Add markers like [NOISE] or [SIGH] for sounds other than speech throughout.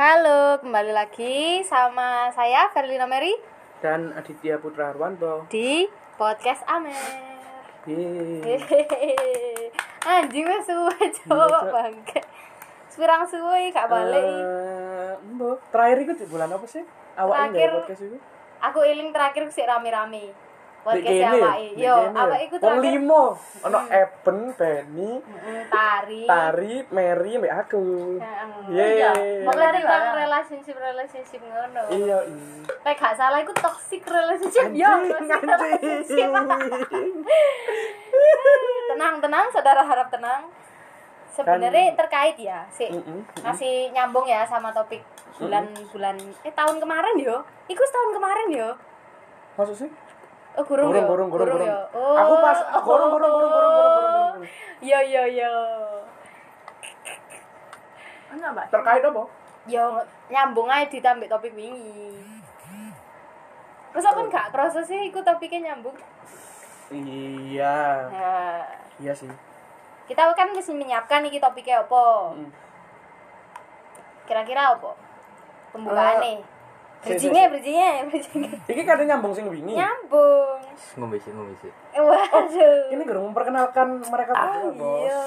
Halo, kembali lagi sama saya Verlina Mary dan Aditya Putra Arwanto. di podcast Amer. Yeay. Hehehe. [LAUGHS] Anjing wes suwe coba Iya, Cok. bangke. Sepirang suwe gak balik. Eh, mbok, terakhir itu di bulan apa sih? Awalnya Terakhir- dari podcast itu? Aku iling terakhir sik rame-rame. Podcast Dek ya kene ya? awake. Dek Yo, kene ya? awake iku Wong terakhir Hmm. limo. Ono Eben, Benny, Mm, tari. Tari, Mary, mbak aku. Hmm. Iya. Yeay. Mau tentang relationship relationship ngono. Iya, iya. Nek gak salah iku toxic relationship. Yo, Anjing, toxic anjing. relationship. tenang tenang saudara harap tenang sebenarnya terkait ya sih Kan- Mm-mm, mm-mm. masih nyambung ya sama topik bulan-bulan eh tahun kemarin yo iku tahun kemarin yo Maksud sih? oh gurung yo Gurung, gurung, gurung, yo Oh. gurung. Aku pas- ah, gurung, gurung, gurung, gurung, gurung, gurung, gurung. yo yo yo Terkait apa? yo nyambung aja ditambah topik wingi terus aku kan gak kerasa sih iku topiknya nyambung Iya. nah, Iya sih. kita kan mesti menyiapkan iki topiknya apa Mm. kira-kira apa pembukaan nih Eh, bridgingnya bridgingnya [LAUGHS] bridgingnya Iki kadang nyambung sing wingi. nyambung ngombe sih ngombe sih Eh, waduh Ini gerung memperkenalkan mereka berdua, Bos. Ah, iya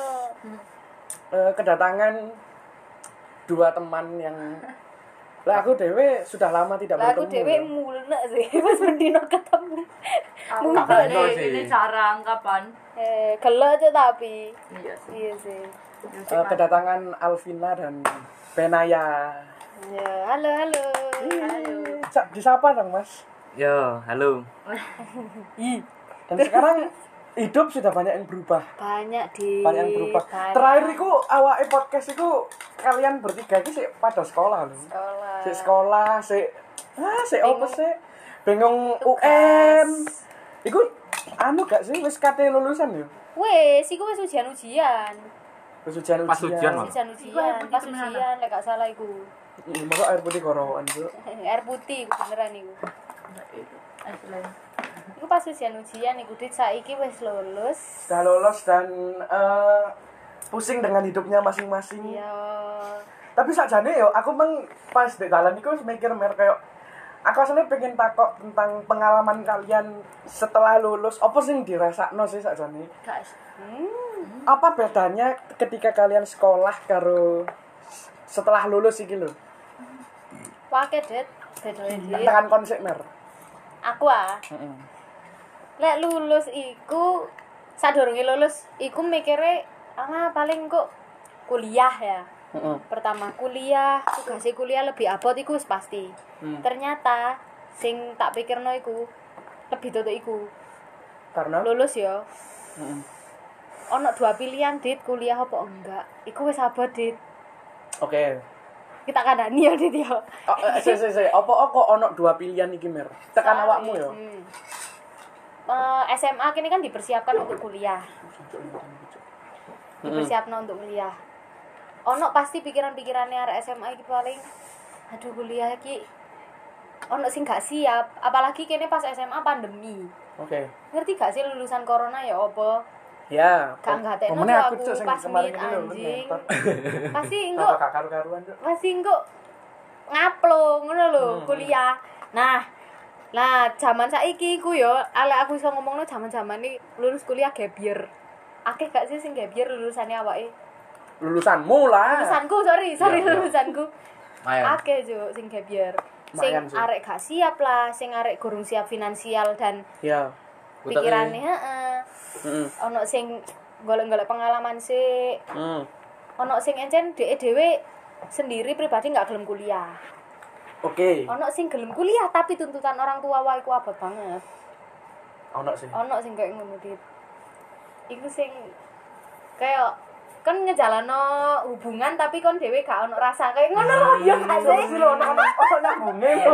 eh, kedatangan dua teman yang lah aku dewe sudah lama tidak lah aku bertemu dewe loh. mulna sih [LAUGHS] pas mendino ketemu mulna kapan deh. sih? ini jarang kapan eh gelo aja tapi iya sih iya sih Eh, kedatangan Alvina dan Benaya ya halo halo Sa- disapa dong mas yo halo i dan [LAUGHS] sekarang hidup sudah banyak yang berubah banyak di banyak yang berubah terakhir iku awal podcast iku kalian bertiga ini sih pada sekolah loh sekolah si sekolah si ah si Eh. apa Bingung. sih bingung Tugas. UM iku anu gak sih wis kate lulusan ya wes iku wes ujian ujian Pas ujian Pas ujian, Mas. ujian ujian air putih pas temenan, ujian lek gak salah iku [LAUGHS] Iya, Masa air putih koroan tuh. air putih iku beneran iku Asli. Iku pas ujian ujian iku dit saiki wis lulus. Sudah lolos dan eh, pusing dengan hidupnya masing-masing. Ya. Tapi sakjane yo aku meng pas di dalan iku wis mikir mer kayak aku aslinya pengen takok tentang pengalaman kalian setelah lulus apa sih dirasakno sih sakjane? Guys, Apa bedanya ketika kalian sekolah karo setelah lulus iki lho? Pakai dit bedone dit. Tekan konsep mer. Aku ah, Heeh. lek lulus iku sadurunge lulus iku mikire ala paling kok kuliah ya. Heeh. Pertama kuliah, tugasnya kuliah lebih abot iku wis pasti. Hmm. Ternyata sing tak pikirno iku lebih tutuk iku. Karena Lulus yo. Heeh. Ono dua pilihan dit kuliah apa enggak. Iku wis abot dit. Oke. Kita kandani yo dit yo. Oh, eh, sih, sih, sih. Apa kok ono dua pilihan iki mer? Tekan awakmu ya? yo. Hmm. Eh, SMA kini kan dipersiapkan untuk kuliah, dipersiapkan untuk kuliah. Ono pasti pikiran-pikirannya arek SMA iki paling aduh kuliah iki ono sing gak siap, apalagi kini pas SMA pandemi. Oke. Ngerti gak sih lulusan corona ya opo? Ya. Gak ngerti Momennya aku, Cuk, sing pas kemarin meet ini lho, anjing. ngentot. [LAUGHS] Pasti engko Tambah gak karu-karuan, Cuk. masih engko ngaplo ngono lho Hmm. kuliah. Nah, nah zaman saiki ku yo ala aku iso ngomongno zaman-zaman iki lulus kuliah gap year. Akeh gak sih sing gap year lulusane awake? Lulusanmu lah. Lulusanku, sorry, sorry Ah. Iya, Eh. iya. lulusanku. Mayan Akeh jo sing gap year. Sing Mayan sih. arek gak siap lah, sing arek gurung siap finansial dan Ya. Utak pikirannya heeh. Heeh. Ono sing golek-golek pengalaman sih. Heeh. Ono sing encen dhek dhewe sendiri pribadi nggak gelem kuliah. Oke. ono sing gelem kuliah tapi tuntutan orang tua wae ku abot banget Ono Oh, sih. ono sing kayak ngono dit iku sing kayak kan ngejalano hubungan tapi kon dhewe gak ono rasa kayak ngono lho ya gak Cuk, sih Hmm. sih Oh, lho, ono [LAUGHS] ono ono nyambungnya, lho.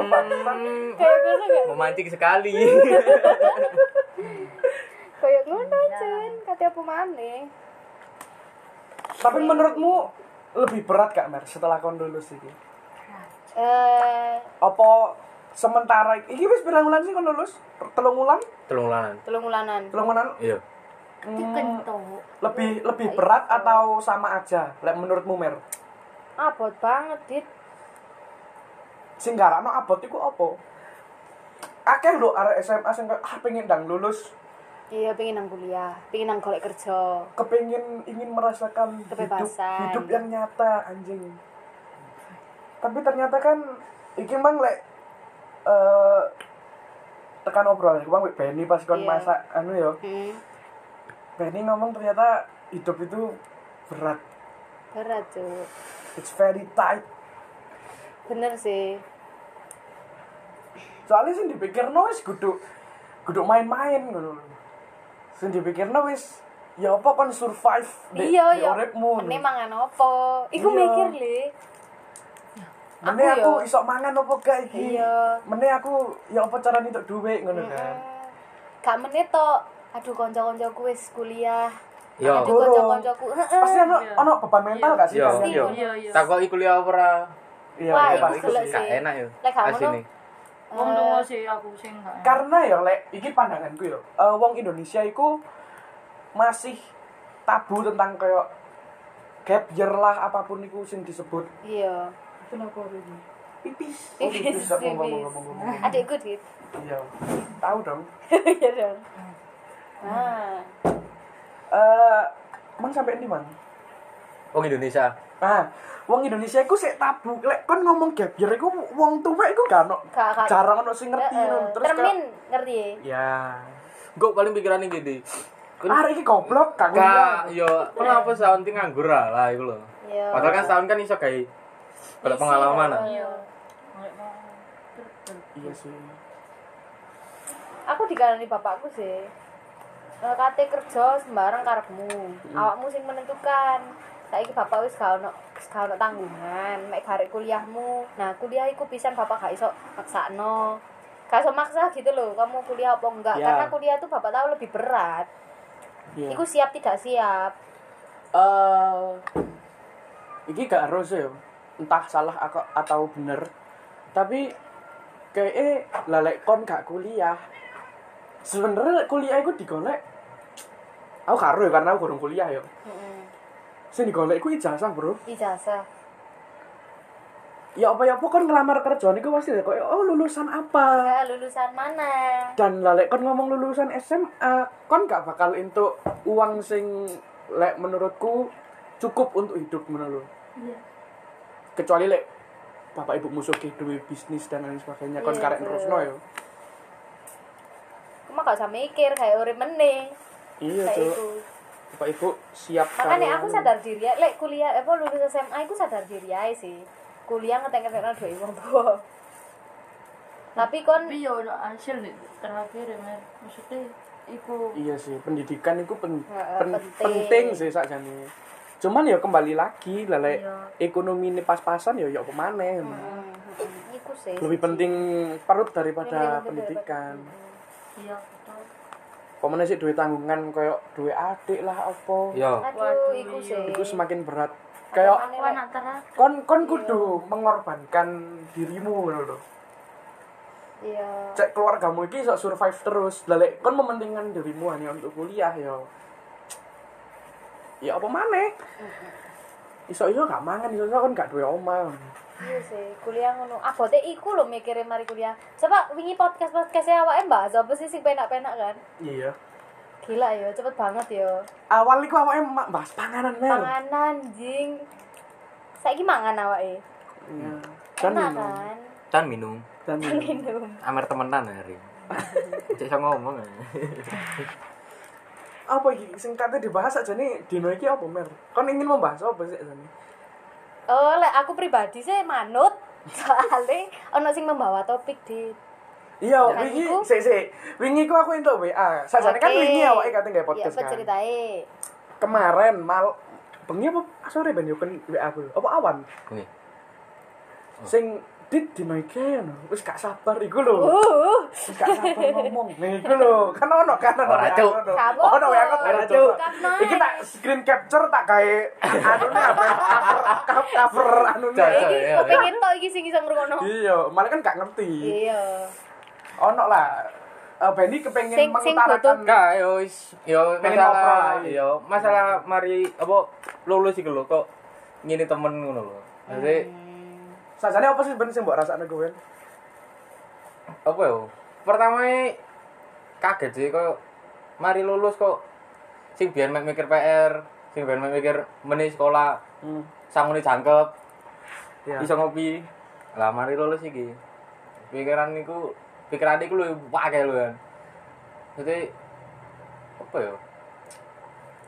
kayak ngono gak memancing [LAUGHS] sekali kayak ngono cun kate apa maneh Tapi menurutmu lebih berat gak Mer setelah kon lulus iki? eh Apa sementara iki wis pirang wulan sih kon lulus? Telung wulan? telung lanan telung wulanan Telung wulan iya Hmm, lebih lebih berat atau sama aja? Lek menurutmu Mer? abot banget dit sing garakno abot iku apa? Akeh lho arek SMA sing kayak, ah pengen ndang lulus, iya pengen nang kuliah pengen nang golek kerja kepengin ingin merasakan hidup Kebebasan. hidup yang nyata anjing. Tapi ternyata kan iki mang lek eh tekan obrolan iku mang wek Benny pas kon Iya. masak anu yo. hmm. Benny ngomong ternyata hidup itu berat. berat tuh It's very tight. bener sih soalnya sing dipikirno wis kudu kudu main-main ngono lho. Sing dipikirno wis ya apa kon survive di, iya di iya uripmu. ini mangan opo iku Iya. mikir le Mene aku aku yo. iso mangan apa gak iki? Iya. Mene aku ya apa cara nituk duit ngono kan. gak menit tok aduh kanca-kancaku wis kuliah Yo. aduh kanca-kancaku heeh. Pasti ono Iya. ono beban mental gak sih? Yo, kan? yo. Iya, iya. Takoki kuliah apa ora? Iya, Wah, iya, iku pasti. gelek Gak sih. enak yo. Lek gak ngono, Asine. Wong dongo sih aku sing gak enak. Karena ya lek iki pandanganku yo. Eh, wong Indonesia iku masih tabu tentang kayak gap year lah apapun iku sing disebut. iya Itu apa ini? Pipis. Oh, tipis Pipis. ngomong, tipis ngomong, ngomong, ngomong. adikku dit [LAUGHS] Iya. Tahu dong. iya dong Hmm. nah Eh, mang sampai ini mang. Wong Indonesia. Ah, wong Indonesia iku sik tabu. Lek kon ngomong gap year iku wong tuwek iku gak ono. Gak- gak- Jarang ono sing ngerti Heeh. ngono. Terus termin kayak- ngerti ya ya. Gue paling pikirannya gini. Ah, Kan iki goblok kan. Kak, yo, kenapa setahun ini nganggur lah, lah iku lho. iya Padahal kan setahun kan iso gawe kalau pengalaman lah. Iya. Golek mau. Iya sih. aku dikalani bapakku sih Eh, kate kerja sembarang karepmu Hmm. awakmu sing menentukan saiki bapak wis gak ono wis gak ono tanggungan mek garek kuliahmu nah kuliah iku pisan bapak gak iso maksakno gak iso maksa gitu loh kamu kuliah apa enggak Ya. karena kuliah tuh bapak tahu lebih berat Iya. iku siap tidak siap Eh, iki gak harus ya. Entah salah aku atau bener. Tapi kayak lah lek kon gak kuliah. Sebenernya kuliah iku digolek. Aku karo ya karena aku kurang kuliah yo. Heeh. Sing digolek iku ijazah, Bro. ijazah ya apa ya apa kan ngelamar kerja niku pasti kok oh lulusan apa Nah, lulusan mana dan lah, lek kon ngomong lulusan SMA kon gak bakal untuk uang sing lek menurutku cukup untuk hidup menurut Iya. kecuali lek bapak ibu musuh duwe bisnis dan lain sebagainya kon Iya, karek betul. terusno yo kamu gak usah mikir kayak urip meneh iya kayak tuh iku bapak ibu siap makanya karo- aku sadar diri ya lek kuliah apa lulus SMA aku sadar diri aja sih kuliah ngetek ngetek dua wong tua tapi kon Tapi yo ono hasil nih terakhir ya, Mer. Maksudnya iku iya sih pendidikan itu pen- Heeh, pen- penting. penting sih sakjane cuman ya kembali lagi lah lek Iya. ekonomi ini pas-pasan ya ya kemana Hmm, hmm, iku sih lebih penting perut daripada Lebih penting pendidikan. iya betul. Pemene sih duwe tanggungan koyo duwe adik lah apa. Yo. aduh Oh. Waduh, iku iya. sih Iku semakin berat. Apa Kayak maneh, Aku lek- anak terakhir. kon kon kudu mengorbankan dirimu ngono lho. iya Cek keluargamu iki iso survive terus. Lah lek kon mementingkan dirimu hanya untuk kuliah yo. Ya apa maneh? Iso-iso gak mangan, iso-iso kon gak duwe omah. iya sih kuliah ngono ah bote iku lho mikirin mari kuliah coba wingi podcast podcastnya awake mbak apa sih sing penak-penak kan Iya. gila ya cepet banget ya Awal iku awake mak bahas panganan Mel. panganan jing saiki mangan awake Iya. Dan enak minum. kan Tan minum. Dan minum. minum Amer temenan [LAUGHS] hari. Cek iso ngomong. ya. apa iki sing kate dibahas aja nih dino iki apa mer kon ingin membahas apa sih jane Oh, lek aku pribadi sih [LAUGHS] manut soalnya ono sing membawa topik di iya Nah, wingi iku- sik sik wingi ku aku entuk WA sajane kan Oke. wingi awake kate nggawe ya podcast apa kan ceritai kemarin mal bengi apa sore ben yo kan WA aku apa awan Kuwi. sing dit dino iki ngono. wis gak sabar iku lho uh wis gak sabar ngomong Nah, iku lho kan ono kan ono Ora, WA Cuk. ono. Sabar, ono WA aku Cuk. ora cuk Karena- iki tak screen capture tak gawe anune apa ya? cover cover anune Cuk, cuk. iki iya, kepengin tok iki sing iso ngrungokno iya malah kan gak ngerti iya ono lah uh, Benny kepengen Sing- sing mengutarakan Enggak, yo wis yo Pengen ngobrol masalah aja. yo masalah Hmm. mari apa lulus iki lho kok ngene temen ngono lho. Jadi sajane apa sih ben sing mbok rasakne kowe? apa ya pertama kaget sih kok mari lulus kok sing biyen mek mikir PR sing biyen mek mikir meni sekolah Hmm. sangune jangkep Ya. bisa ngopi lah mari lulus iki pikiran niku pikiran niku lu pakai lu kan jadi apa ya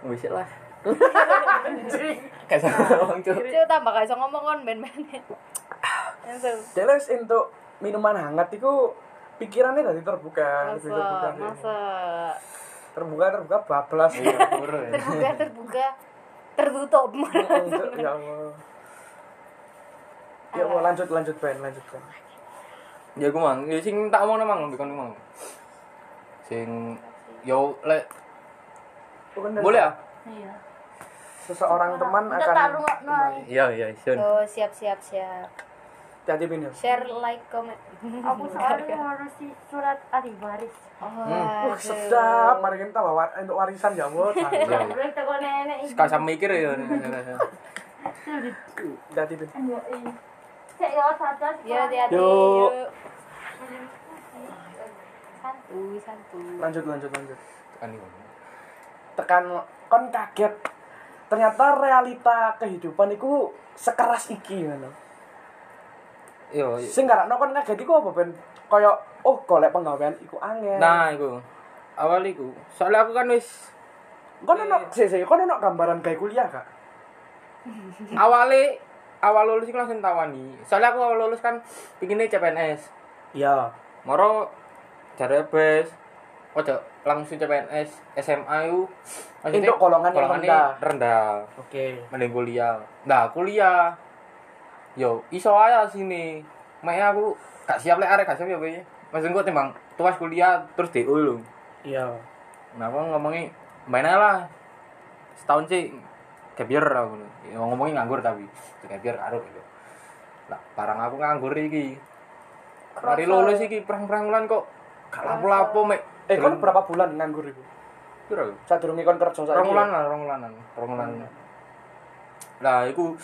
wis lah kayak sama orang cuy Cuk tambah gak iso ngomong kon ben-ben. Langsung. Jelas untuk minuman hangat itu pikirannya dari terbuka, lebih Masa, terbuka, sih. masa terbuka, terbuka, [LAUGHS] bablas. Iya, buru ya. terbuka terbuka tertutup. Untuk- ya Allah. Ya Allah, lanjut, lanjut Ben, lanjut Ben. ya gue mang ya sing tak omong mang lebih kon mang sing yo lek Oh, kan dari- boleh ya Iya. Seseorang teman Kita akan tak rungokno ae. iya iya sun Oh, siap siap siap. jadi bin ya. Share like comment. Hmm. Aku soalnya harus si surat ahli waris. Wah Wah, sedap, mari kita bawa war- untuk warisan ya Allah. Iya. Gak boleh teko nenek iki. Kau sama mikir ya. Jadi bin. Enggak, iya. Cek ya sadar. Ya hati-hati. Yuk. yuk. Santuy, santuy. Lanjut, lanjut, lanjut. Kan Tekan kon kaget. Ternyata realita kehidupan itu sekeras iki ngono. Yo. Sing ngarakno kon kaget iku apa ben? Kayak oh golek penggawean iku angel. Nah, iku. Awal iku. Soalnya aku kan wis Kon ono iya. sik sik, kon ono gambaran gawe kuliah, Kak. awale awal lulus iku langsung tawani. Soalnya aku awal lulus kan pinginnya CPNS. Iya. Moro jare bes. Ojo langsung CPNS SMA iku. Maksudnya Untuk golongan yang golongannya rendah. rendah. Oke. Mending kuliah. Nah, kuliah. Yo, iso aja sini. Makanya aku gak siap lek arek gak siap ya kowe. Maksudku timbang tuas kuliah terus DU lho. Iya. Nah, aku ngomongi main aja lah. Setahun sih gap year aku. Ya, ngomongin nganggur tapi gap year karo gitu. Lah, barang aku nganggur iki. Mari lulus iki perang-perang bulan kok gak lapo-lapo mek. Eh, kon berapa bulan nganggur iku? piro? yo? Sadurunge kon kerja saiki. ya? Rong bulan lah, rong bulanan, rong bulan. Lah, iku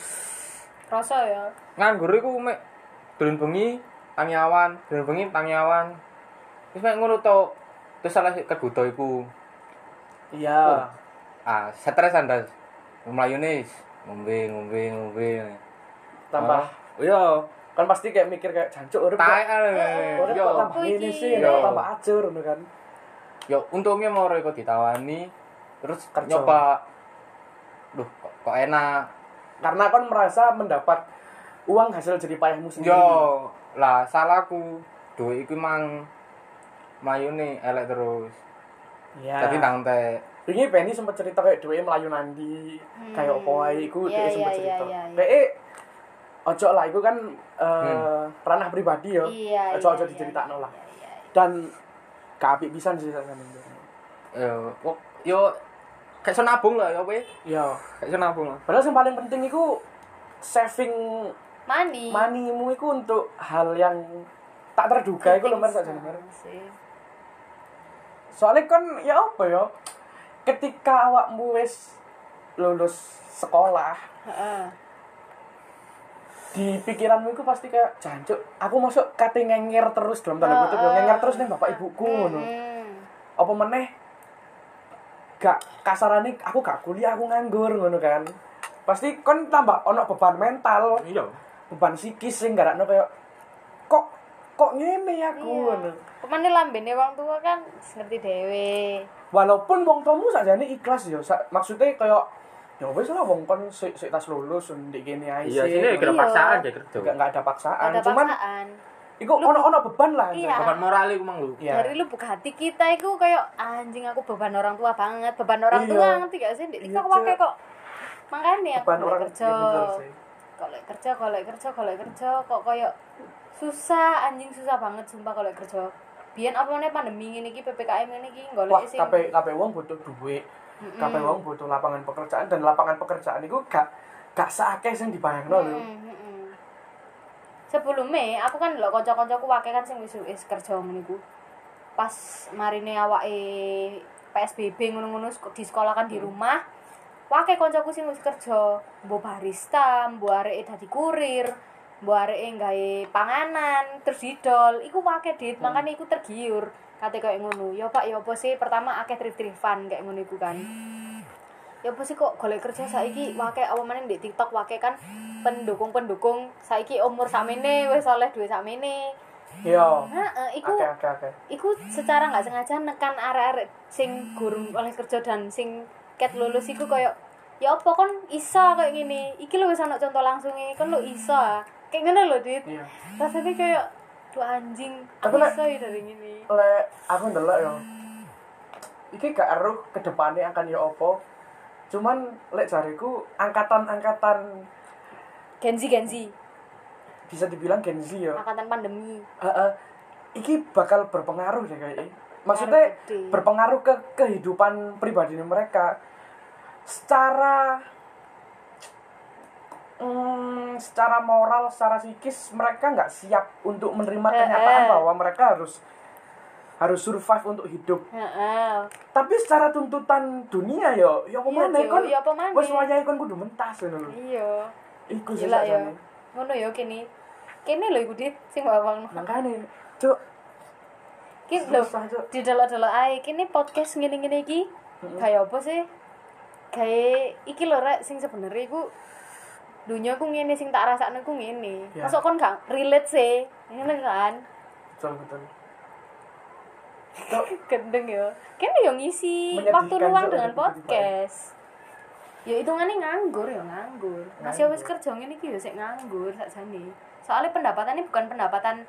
Rasa ya. nganggur iku mek dolen bengi tangi awan, dolen bengi tangi awan. Wis mek ngono to. Terus salah kegudo iku. Iya. ah stres anda melayu nih ngombe ngombe ngombe Tambah oh, iya kan pasti kayak mikir kayak jancuk urip. kok- tae Iya. ale. Urip yo kok tambah ini sih, Yo. tambah acur ngono kan. yo untungnya mau kok ditawani terus Kerja. nyoba duh kok, kok enak Karena kon merasa mendapat uang hasil jerih payahmu sendiri. yo lah salahku duit iku mang melayu nih elek terus Iya. jadi nang teh Ini Benny sempat cerita kayak duwe melayu nanti kayak apa wae iku Hmm. Iya, dia sempat iya, cerita. iya, iya. Kayak eh, ojo lah iku kan eh, ranah pribadi ya. Hmm. Iya. Ojo ojo iya, diceritakno iya, lah. iya, iya. Dan kapi pisan sih sakjane. yo kok- yo kayak iso nabung lah yo weh Yo. kayak iso nabung lah Padahal yang paling penting iku saving Mandi. money-mu iku untuk hal yang tak terduga iku lho Mer sakjane Mer. Sih. soalnya kan ya apa ya ketika awakmu wis lulus sekolah Heeh. di pikiranmu itu pasti kayak jancuk aku masuk kate ngenger terus dalam tanda kutip ya ngenger terus nih bapak ibuku ngono Hmm. apa meneh gak kasarane aku gak kuliah aku nganggur ngono kan pasti kon tambah ono beban mental iya beban psikis sing garakno kayak kok kok ngene aku ngono Kemana lambene wong tua kan ngerti dhewe. walaupun wong tuamu sakjane ikhlas ya sa- maksudnya kayak ya wis lah wong kon sik sik tas lulus ndek kene ae iya sik." sini Nggak- kira paksaan ya nggak kerja nggak ada paksaan Ada Ah, cuman paksaan. iku ono-ono beban lah Iya. kapan moral iku mang lu Iya. Dari lubuk hati kita itu kayak anjing aku beban orang tua banget, beban orang Iya. tua ngerti gak sih? Dik, Iya, aku pakai Cak. kok. Makanya aku beban golek orang kerja. ya, bener sih. Golek kerja, golek kerja, golek kerja kok kayak susah anjing susah banget sumpah golek kerja. Biyen apa meneh pandemi ngene iki PPKM ngene iki wah golek sing kabeh kabeh wong butuh duit kabeh wong butuh lapangan pekerjaan dan lapangan pekerjaan iku gak gak seakeh sing dibayangno lho Mm, mm, mm. Sebelumnya aku kan lho kanca-kancaku wakai kan sing wis wis kerja ngono iku. Pas marine awake PSBB ngono-ngono sek- di sekolah kan di rumah. Wakai kancaku sing wis kerja, mbok barista, mbok areke dadi kurir, mbok areke gawe panganan terus didol iku akeh duit makanya iku tergiur kate koyo ngono ya Pak ya apa sih pertama akeh trif-trifan kayak ngono iku kan ya apa sih kok golek kerja saiki wakil apa meneh di TikTok wakil kan pendukung-pendukung saiki umur sakmene wis oleh duit sakmene Yo. heeh iku Oke oke oke. iku secara nggak sengaja nekan arek-arek sing gurung oleh kerja dan sing ket lulus iku koyo ya apa kon iso kayak gini iki lho wis ana contoh langsungnya kon lo iso ah." kayak ngono lho dit Iya. rasanya kayak tuh anjing Tapi aku lek- iso ya dari gini Lek aku ndelok yo. Iki gak eruh ke depannya akan yo opo. Cuman lek jariku angkatan-angkatan genzi genzi bisa dibilang Gen Z yo. angkatan pandemi Heeh. Iki bakal berpengaruh deh kayaknya. Maksudnya Pengaruh gede. berpengaruh ke kehidupan pribadi mereka secara hmm, secara moral, secara psikis mereka nggak siap untuk menerima Eh, kenyataan eh. bahwa mereka harus harus survive untuk hidup. heeh Tapi secara tuntutan dunia yo, yo apa Iya, maneh Jo, kon? iya apa maneh? Wes wayahe kon kudu mentas ngono lho. iya Iku sih gila ya sakjane. ngono ya kene kene lho iku dit sing bawang Makane, Cuk, Ki lho, susah, Cuk. didelok-delok ae. Kene podcast ngene-ngene iki kayak apa sih? Kayak iki lho rek sing sebenarnya iku dunia ku ngene sing tak rasakne ku ngene. Ya. Masuk kon gak relate sih. Ngene kan. Betul, betul. Gendeng yo. Kene yo ngisi Menyedihkan, waktu luang Cuk, dengan hidup-hidup ae. podcast. Ya hitungannya nganggur ya nganggur. Masih Nganggur. wis kerja ngene iki yo sik nganggur sakjane. Soalnya pendapatannya bukan pendapatan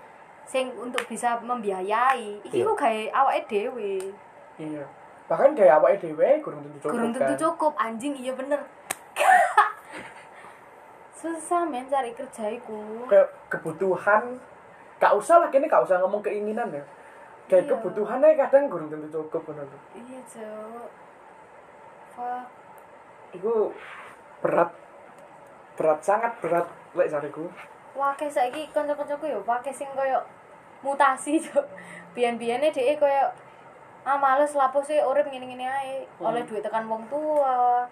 sing untuk bisa membiayai. Iki Iya. ku gawe awake dhewe. Iya. Bahkan kayak awake dhewe kurang tentu cukup. Kurang tentu kan. cukup anjing iya bener. [LAUGHS] Susah men cari kerja iku. Kayak kebutuhan gak usah lah kene gak usah ngomong keinginan ya. Kayak Iya. kebutuhannya kadang kurang tentu cukup ngono lho. Iya, Cuk. Fuck. Iku berat. Berat sangat berat lek jariku. Wake saiki kanca-kancaku ya wake sing koyo mutasi, [LAUGHS] Cuk. Biyen-biyene dhek koyo ah males lapo sih urip ngene-ngene ae, Hmm. oleh duit tekan wong tua.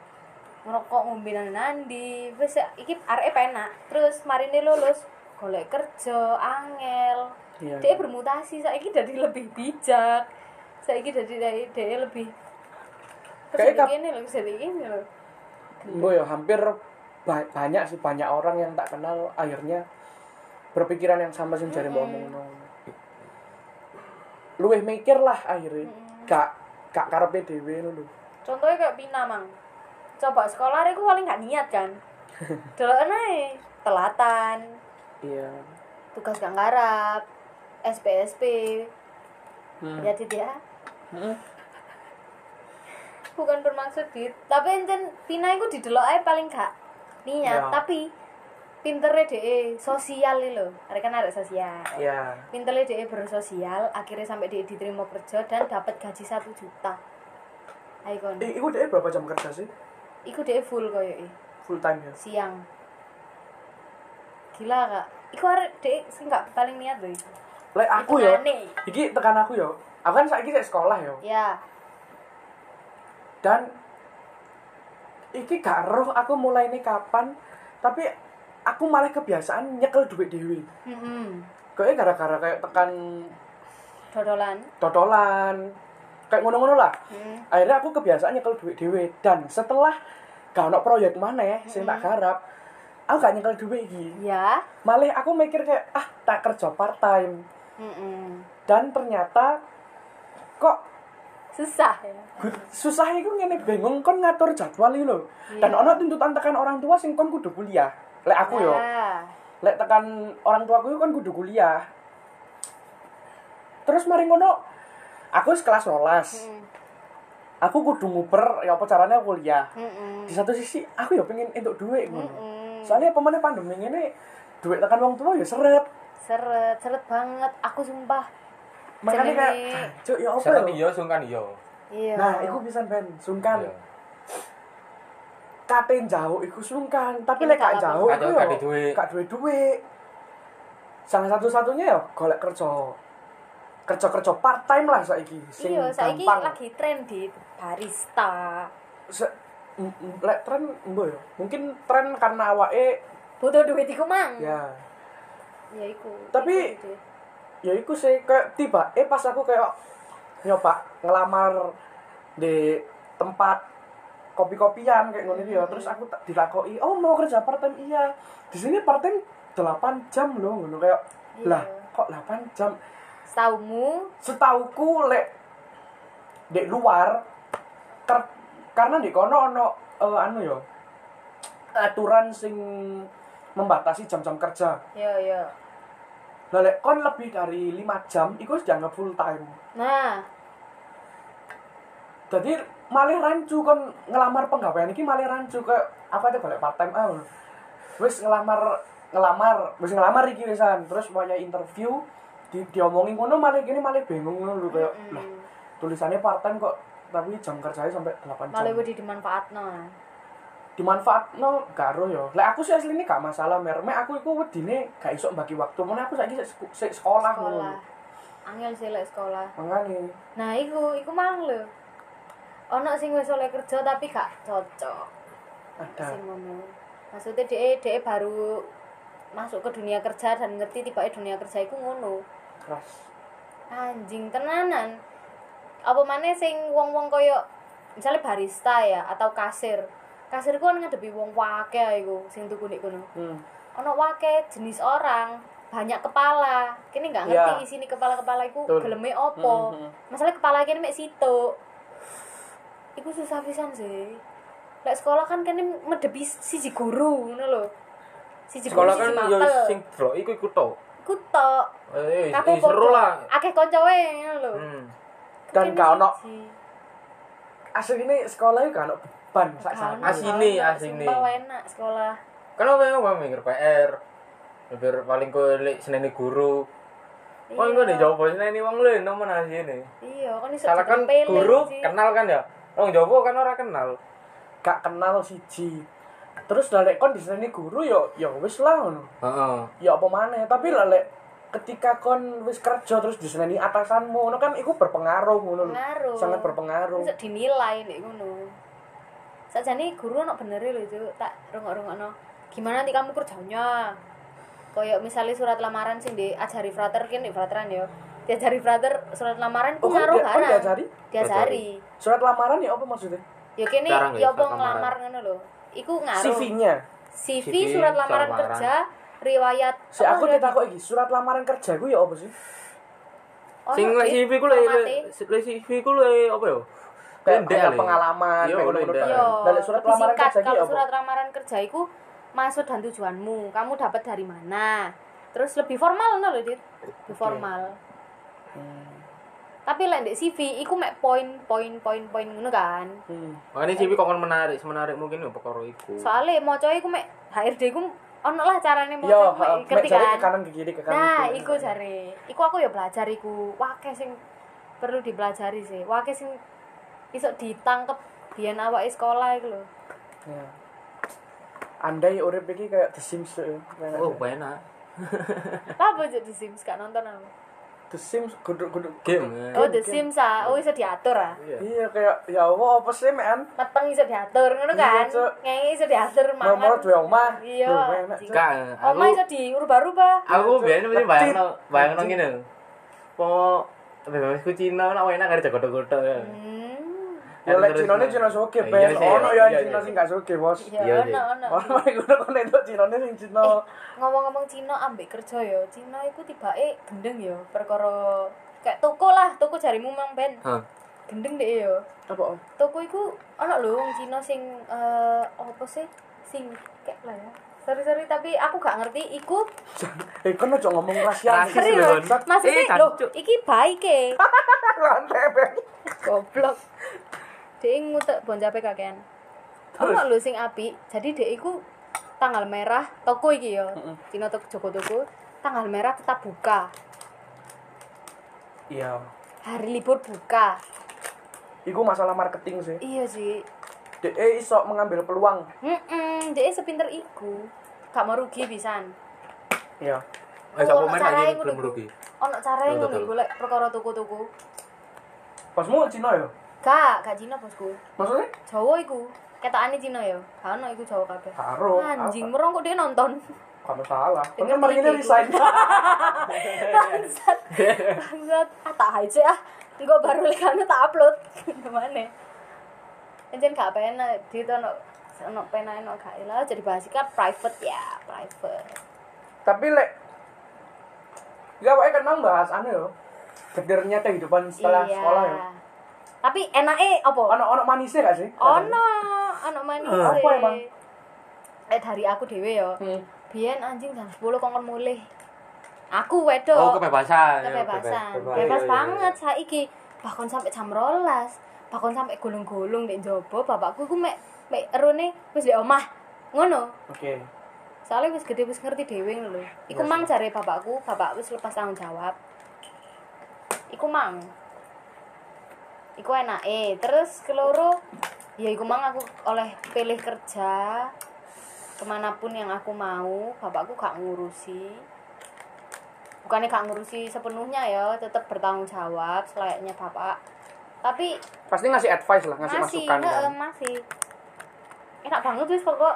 Ngerokok ngombe nandi, wis ya, iki areke penak. Terus marine lulus golek kerja angel. Iya. dia bermutasi saiki jadi lebih bijak saiki jadi dari dia lebih Kayak kerja kap- ini loh bisa ini loh Gue ya hampir ba- banyak sih banyak orang yang tak kenal akhirnya berpikiran yang sama sih jare mau ngomong ngono. Luwih mikir lah akhirnya. Gak gak karepe dhewe ngono lho. contohnya kayak Pina mang coba sekolah aku paling gak niat [LAUGHS] kan dulu naik telatan Iya. tugas gak ngarap SPSP Hmm. ya Dit, ya bukan bermaksud dit tapi enten Pina itu didelok ae paling gak niat Ya. tapi pinternya deh sosial iki lho arek kan arek sosial Iya. pinternya dia e bersosial akhirnya sampai dia diterima kerja dan dapat gaji satu juta Aikon, Eh, iku dhek berapa jam kerja sih? iku dia e full koyo Full time ya. siang gila kak iku arek dia sing gak paling niat loh iku. Lek aku ya. Hitungane. Iki tekan aku ya. Aku kan saiki sik sekolah ya. ya Dan iki gak roh aku mulai ini kapan, tapi aku malah kebiasaan nyekel duit dewi. mm Kayaknya gara-gara kayak tekan dodolan totolan, kayak ngono-ngono lah. Mm. Akhirnya aku kebiasaan nyekel duit dewi. Dan setelah gak ono proyek mana, sing tak garap, aku gak nyekel duit iki. ya Malah aku mikir kayak ah tak kerja part time. Mm-mm. Dan ternyata kok susah ya susah iku ngene bingung kon ngatur jadwal iki lho. Dan ono tuntutan tekan orang tua sing kon kudu kuliah. Lek aku ya. yo, Ah. lek tekan orang tua aku kon kudu kuliah. Terus mari ngono aku wis kelas 12. Mm. Aku kudu nguber ya apa caranya aku kuliah. Mm-mm. Di satu sisi aku yo pengen entuk duit ngono. Mm. Iya. Soalnya apa meneh pandemi ngene duit tekan wong tua yo seret. seret seret banget aku sumpah Makanya kayak Jenenge- "Ah, cuk ya apa Seret yo?" iya, sungkan iya. iya Nah, iku pisan ben sungkan. Iya. kate jauh iku sungkan tapi Ini lek gak gak jauh apa-apa. iku Gak jauh, yo gak duwe duit. gak duwe duit salah satu-satunya ya golek kerja kerja-kerja part time lah saiki sing iya saiki gampang lagi tren di barista Se- m- m- lek tren mbo yo mungkin tren karena awake Hmm. butuh duit iku mang ya ya iku Tapi- Iku deh. ya iku sih kayak tiba eh pas aku kayak nyoba ngelamar di tempat kopi-kopian kayak ngono iki ya terus aku tak dilakoi oh mau kerja part time iya di sini part time 8 jam loh ngono kayak Iya. lah kok 8 jam Setaumu setauku lek di luar ker- karena di kono ono eh, anu yo aturan sing membatasi jam-jam kerja ya ya lah lek kon lebih dari 5 jam iku wis dianggap full time nah jadi malah rancu kon ngelamar penggawean iki malah rancu ke apa itu balik part time ah wis ngelamar ngelamar wis ngelamar iki wisan terus maunya interview di diomongin ngono malah gini malah bingung ngono lho kayak mm-mm. lah tulisannya part time kok tapi jam kerjanya sampai 8 jam malah wedi dimanfaatno dimanfaat no karo yo lek aku sih asli ini gak masalah mer mek aku iku wedine gak iso bagi waktu mana aku saiki sik seku- sik sekolah ngono sekolah angel sih lek sekolah mangane nah iku iku mang lho ono sing wis oleh kerja tapi gak cocok ada sing ngono maksudnya dia dia baru masuk ke dunia kerja dan ngerti tiba dunia kerja iku ngono keras anjing tenanan apa mana sing wong wong koyo misalnya barista ya atau kasir kasir ku kan ngadepi wong wake ae iku sing tuku nek kono hmm. ono wake jenis orang banyak kepala kini nggak ngerti Ya. isini kepala kepala iku Betul. geleme opo Mhm. Mm-hmm. masalah kepala kini mek situ iku susah pisan sih lek sekolah kan kini medepi siji guru ngono lho siji guru sekolah kan siji yo mapel. sing delok iku iku tok ku tok eh eh, kabeh eh, podo. seru lah akeh kanca wae ngono lho hmm. Dan Kene gak ono. siji. asli ini sekolah iku gak ono beban sak Gak ono, sana. Asine, gak ono. asine. Sumpah wae enak sekolah kan apa yang ngomong mikir PR mikir paling kowe lek seneni guru Oh, Iya. enggak nih Jawa seneni wong lho nomo nasi ini. iya kan iso Salah kan ditempelin guru sih. kenal kan ya. Wong Jawa kan ora kenal. gak kenal siji terus lah lek kon di sini guru yo yo wis lah ngono Heeh. ya apa maneh tapi lah lek ketika kon wis kerja terus di sini atasanmu ngono kan iku berpengaruh ngono lho. Pengaruh. sangat berpengaruh Iso dinilai nek ngono. Sajane guru ono benere lho itu tak rungok-rungokno. Gimana nanti kamu kerjanya? Koyok misalnya surat lamaran sing diajari frater kan di frateran ya. Diajari frater surat lamaran ku Oh, ngaruh dia- oh, barang. diajari? Diajari. surat lamaran ya apa maksudnya Ya kene Sekarang ya, ya apa surat lamaran. ngelamar ngono lho. Iku ngaruh. CV-nya CV, CV, surat surat lamaran lamaran. kerja, riwayat. si apa aku riwayat- ditakok iki surat lamaran kerja ku ya apa sih ono, Sing lek Dit, CV ku lek formate. lek CV ku lek apa yo? kayak Pendek kayak lek. pengalaman Iya, kayak oleh ngono-ngono ndak. kan. Yo, Lah, lek surat lebih lamaran singkat. kerja iki kalau apa surat lamaran kerja itu maksud dan tujuanmu, kamu dapat dari mana. Terus lebih formal no lho, Dit. Lebih formal. Hmm, Tapi lek ndek CV iku mek poin poin poin poin ngono kan. Hmm. Makane CV kok kon menarik, menarik mungkin yo perkara iku. Soale mocoe iku mek HRD iku ono lah carane yo moco iku mek ha, mek ngerti jari ke kan. kanan ke kiri ke kanan gitu. Nah, ke kiri. iku jare. Iku aku ya belajar iku. Wah, akeh sing perlu dipelajari sih. Wah, akeh sing iso ditangkep biyen awake sekolah iku lho. Ya. andai urip iki kayak The Sims eh, kayak Oh, enak. Lah apa jadi Sims gak nonton aku. The Sims guduk-guduk Game. Oh, The Sims ah. Oh, iso diatur ah. Iya. Iya kayak ya Allah apa sih men? Mateng iso diatur ngono kan. Iya, Cuk. Ngenge iso diatur Nomor mangan. dua omah. Iya. Duh, enak, Cuk. Kak, aku Oma iso diurubah-rubah. aku Cuk. biyen mesti Lecit. bayangno, bayangno Lecit. ngene. Po bebasku Cina nak enak ada godok-godok. ya. Hmm. Ya Terus- lek Cina ini Cina soke Iya ben. sih, Ono iya, ya iya, Cina iya. sing gak soke, Bos. Iya, Ya sih. ono ono. Ono iku nek entuk Cina sing Cina. Eh, ngomong-ngomong Cina ambek kerja ya. Cina iku tibake gendeng ya perkara kayak toko lah, toko jarimu mang ben. Hah. Gendeng deh ya. Apa? Om? Toko iku ono lho wong Cina sing eh apa sih? Sing kayak lah ya. Sorry sorry tapi aku gak ngerti iku Eh kan ojo ngomong rahasia. Rahasia. seri sih, lho. Lon. Mas Eh, iki kan, lho, Cuk. iki baik e. Lantai ben. goblok dia ngutek bon capek kakean ono lho sing api jadi dia iku tanggal merah toko iki yo Cina toko Joko toko tanggal merah tetap buka Iya. hari libur buka Iku masalah marketing sih. iya sih DE iso mengambil peluang. Mm-mm, dia sepinter iku gak mau rugi pisan Iya. Oh, Eh, sapa ono main carae lagi ngono belum iku. rugi. ono cara Betul, yang betul. ngono golek perkara toko-toko Bosmu Cina ya? gak gak Cina bosku Maksudnya? Jawa iku ketokane Cina yo gak ono iku Jawa kabeh Karo. anjing merongkok dia nonton kamu salah kan Itu kemarin ini titik. resign [LAUGHS] bangsat bangsat ah tak aja ah engko baru [LAUGHS] lekane tak upload gimana Encen gak pena di ono ono pena ono gak ilah jadi bahas iki kan private ya private tapi lek ya wae kan mang bahas anu yo gedirnya kehidupan setelah sekolah ya tapi enake apa ono ono manisnya gak sih ono ono manis Eh, apa emang? eh dari aku dhewe ya Hmm. biyen anjing jam 10 kongkon mulih aku oh wedok kebebasan kebebasan Bebas. bebas Iya, iya, banget saiki bahkan sampai jam rolas bahkan sampai gulung-gulung di jobo bapakku ku mek mek erone wis di omah ngono oke soalnya wis gede wis ngerti dhewe ngono lho iku Iya, mang jare bapakku bapak wis lepas tanggung jawab iku mang iku enak eh terus keloro ya iku mang aku oleh pilih kerja kemanapun yang aku mau bapakku gak ngurusi bukannya gak ngurusi sepenuhnya ya tetap bertanggung jawab selayaknya bapak tapi pasti ngasih advice lah ngasih masih masukan heeh, kan masih enak banget wis pokok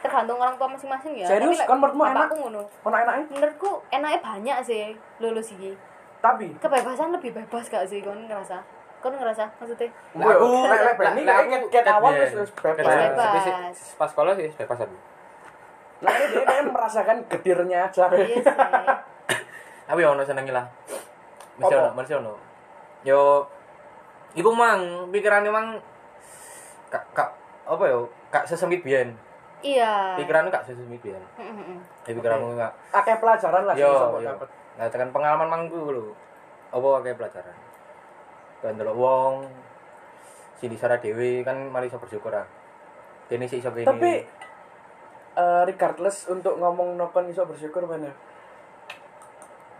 tergantung orang tua masing-masing ya Serius? lek Kan menurutmu bapakku enak? ngono ono enaknya menurutku enaknya banyak sih lulus iki tapi kebebasan lebih bebas gak sih kon ngerasa kon ngerasa [LAUGHS] maksudnya Lah, aku lek lek ben iki kayak ket awal wis wis Bebas. bebas Tapi sih, pas sekolah sih bebas aku. lah ini dia kayak merasakan getirnya aja iya sih Tapi ya ono senengi lah. Mesti Apa? ono, mesti ono. Yo iku mang pikirane mang kak kak apa yo? Kak sesempit biyen. iya Pikiranmu kak sesempit biyen. Mm, mm, mm. Ya pikiranmu kak. akeh pelajaran lah sih Yo, bisa buat yo. dapet. Nah, tekan pengalaman mangku lho. Apa akeh pelajaran? Kan delok wong sini sara dhewe kan mari iso bersyukur ah. Kene sih iso kene. tapi eh, regardless untuk ngomong nokon iso bersyukur bener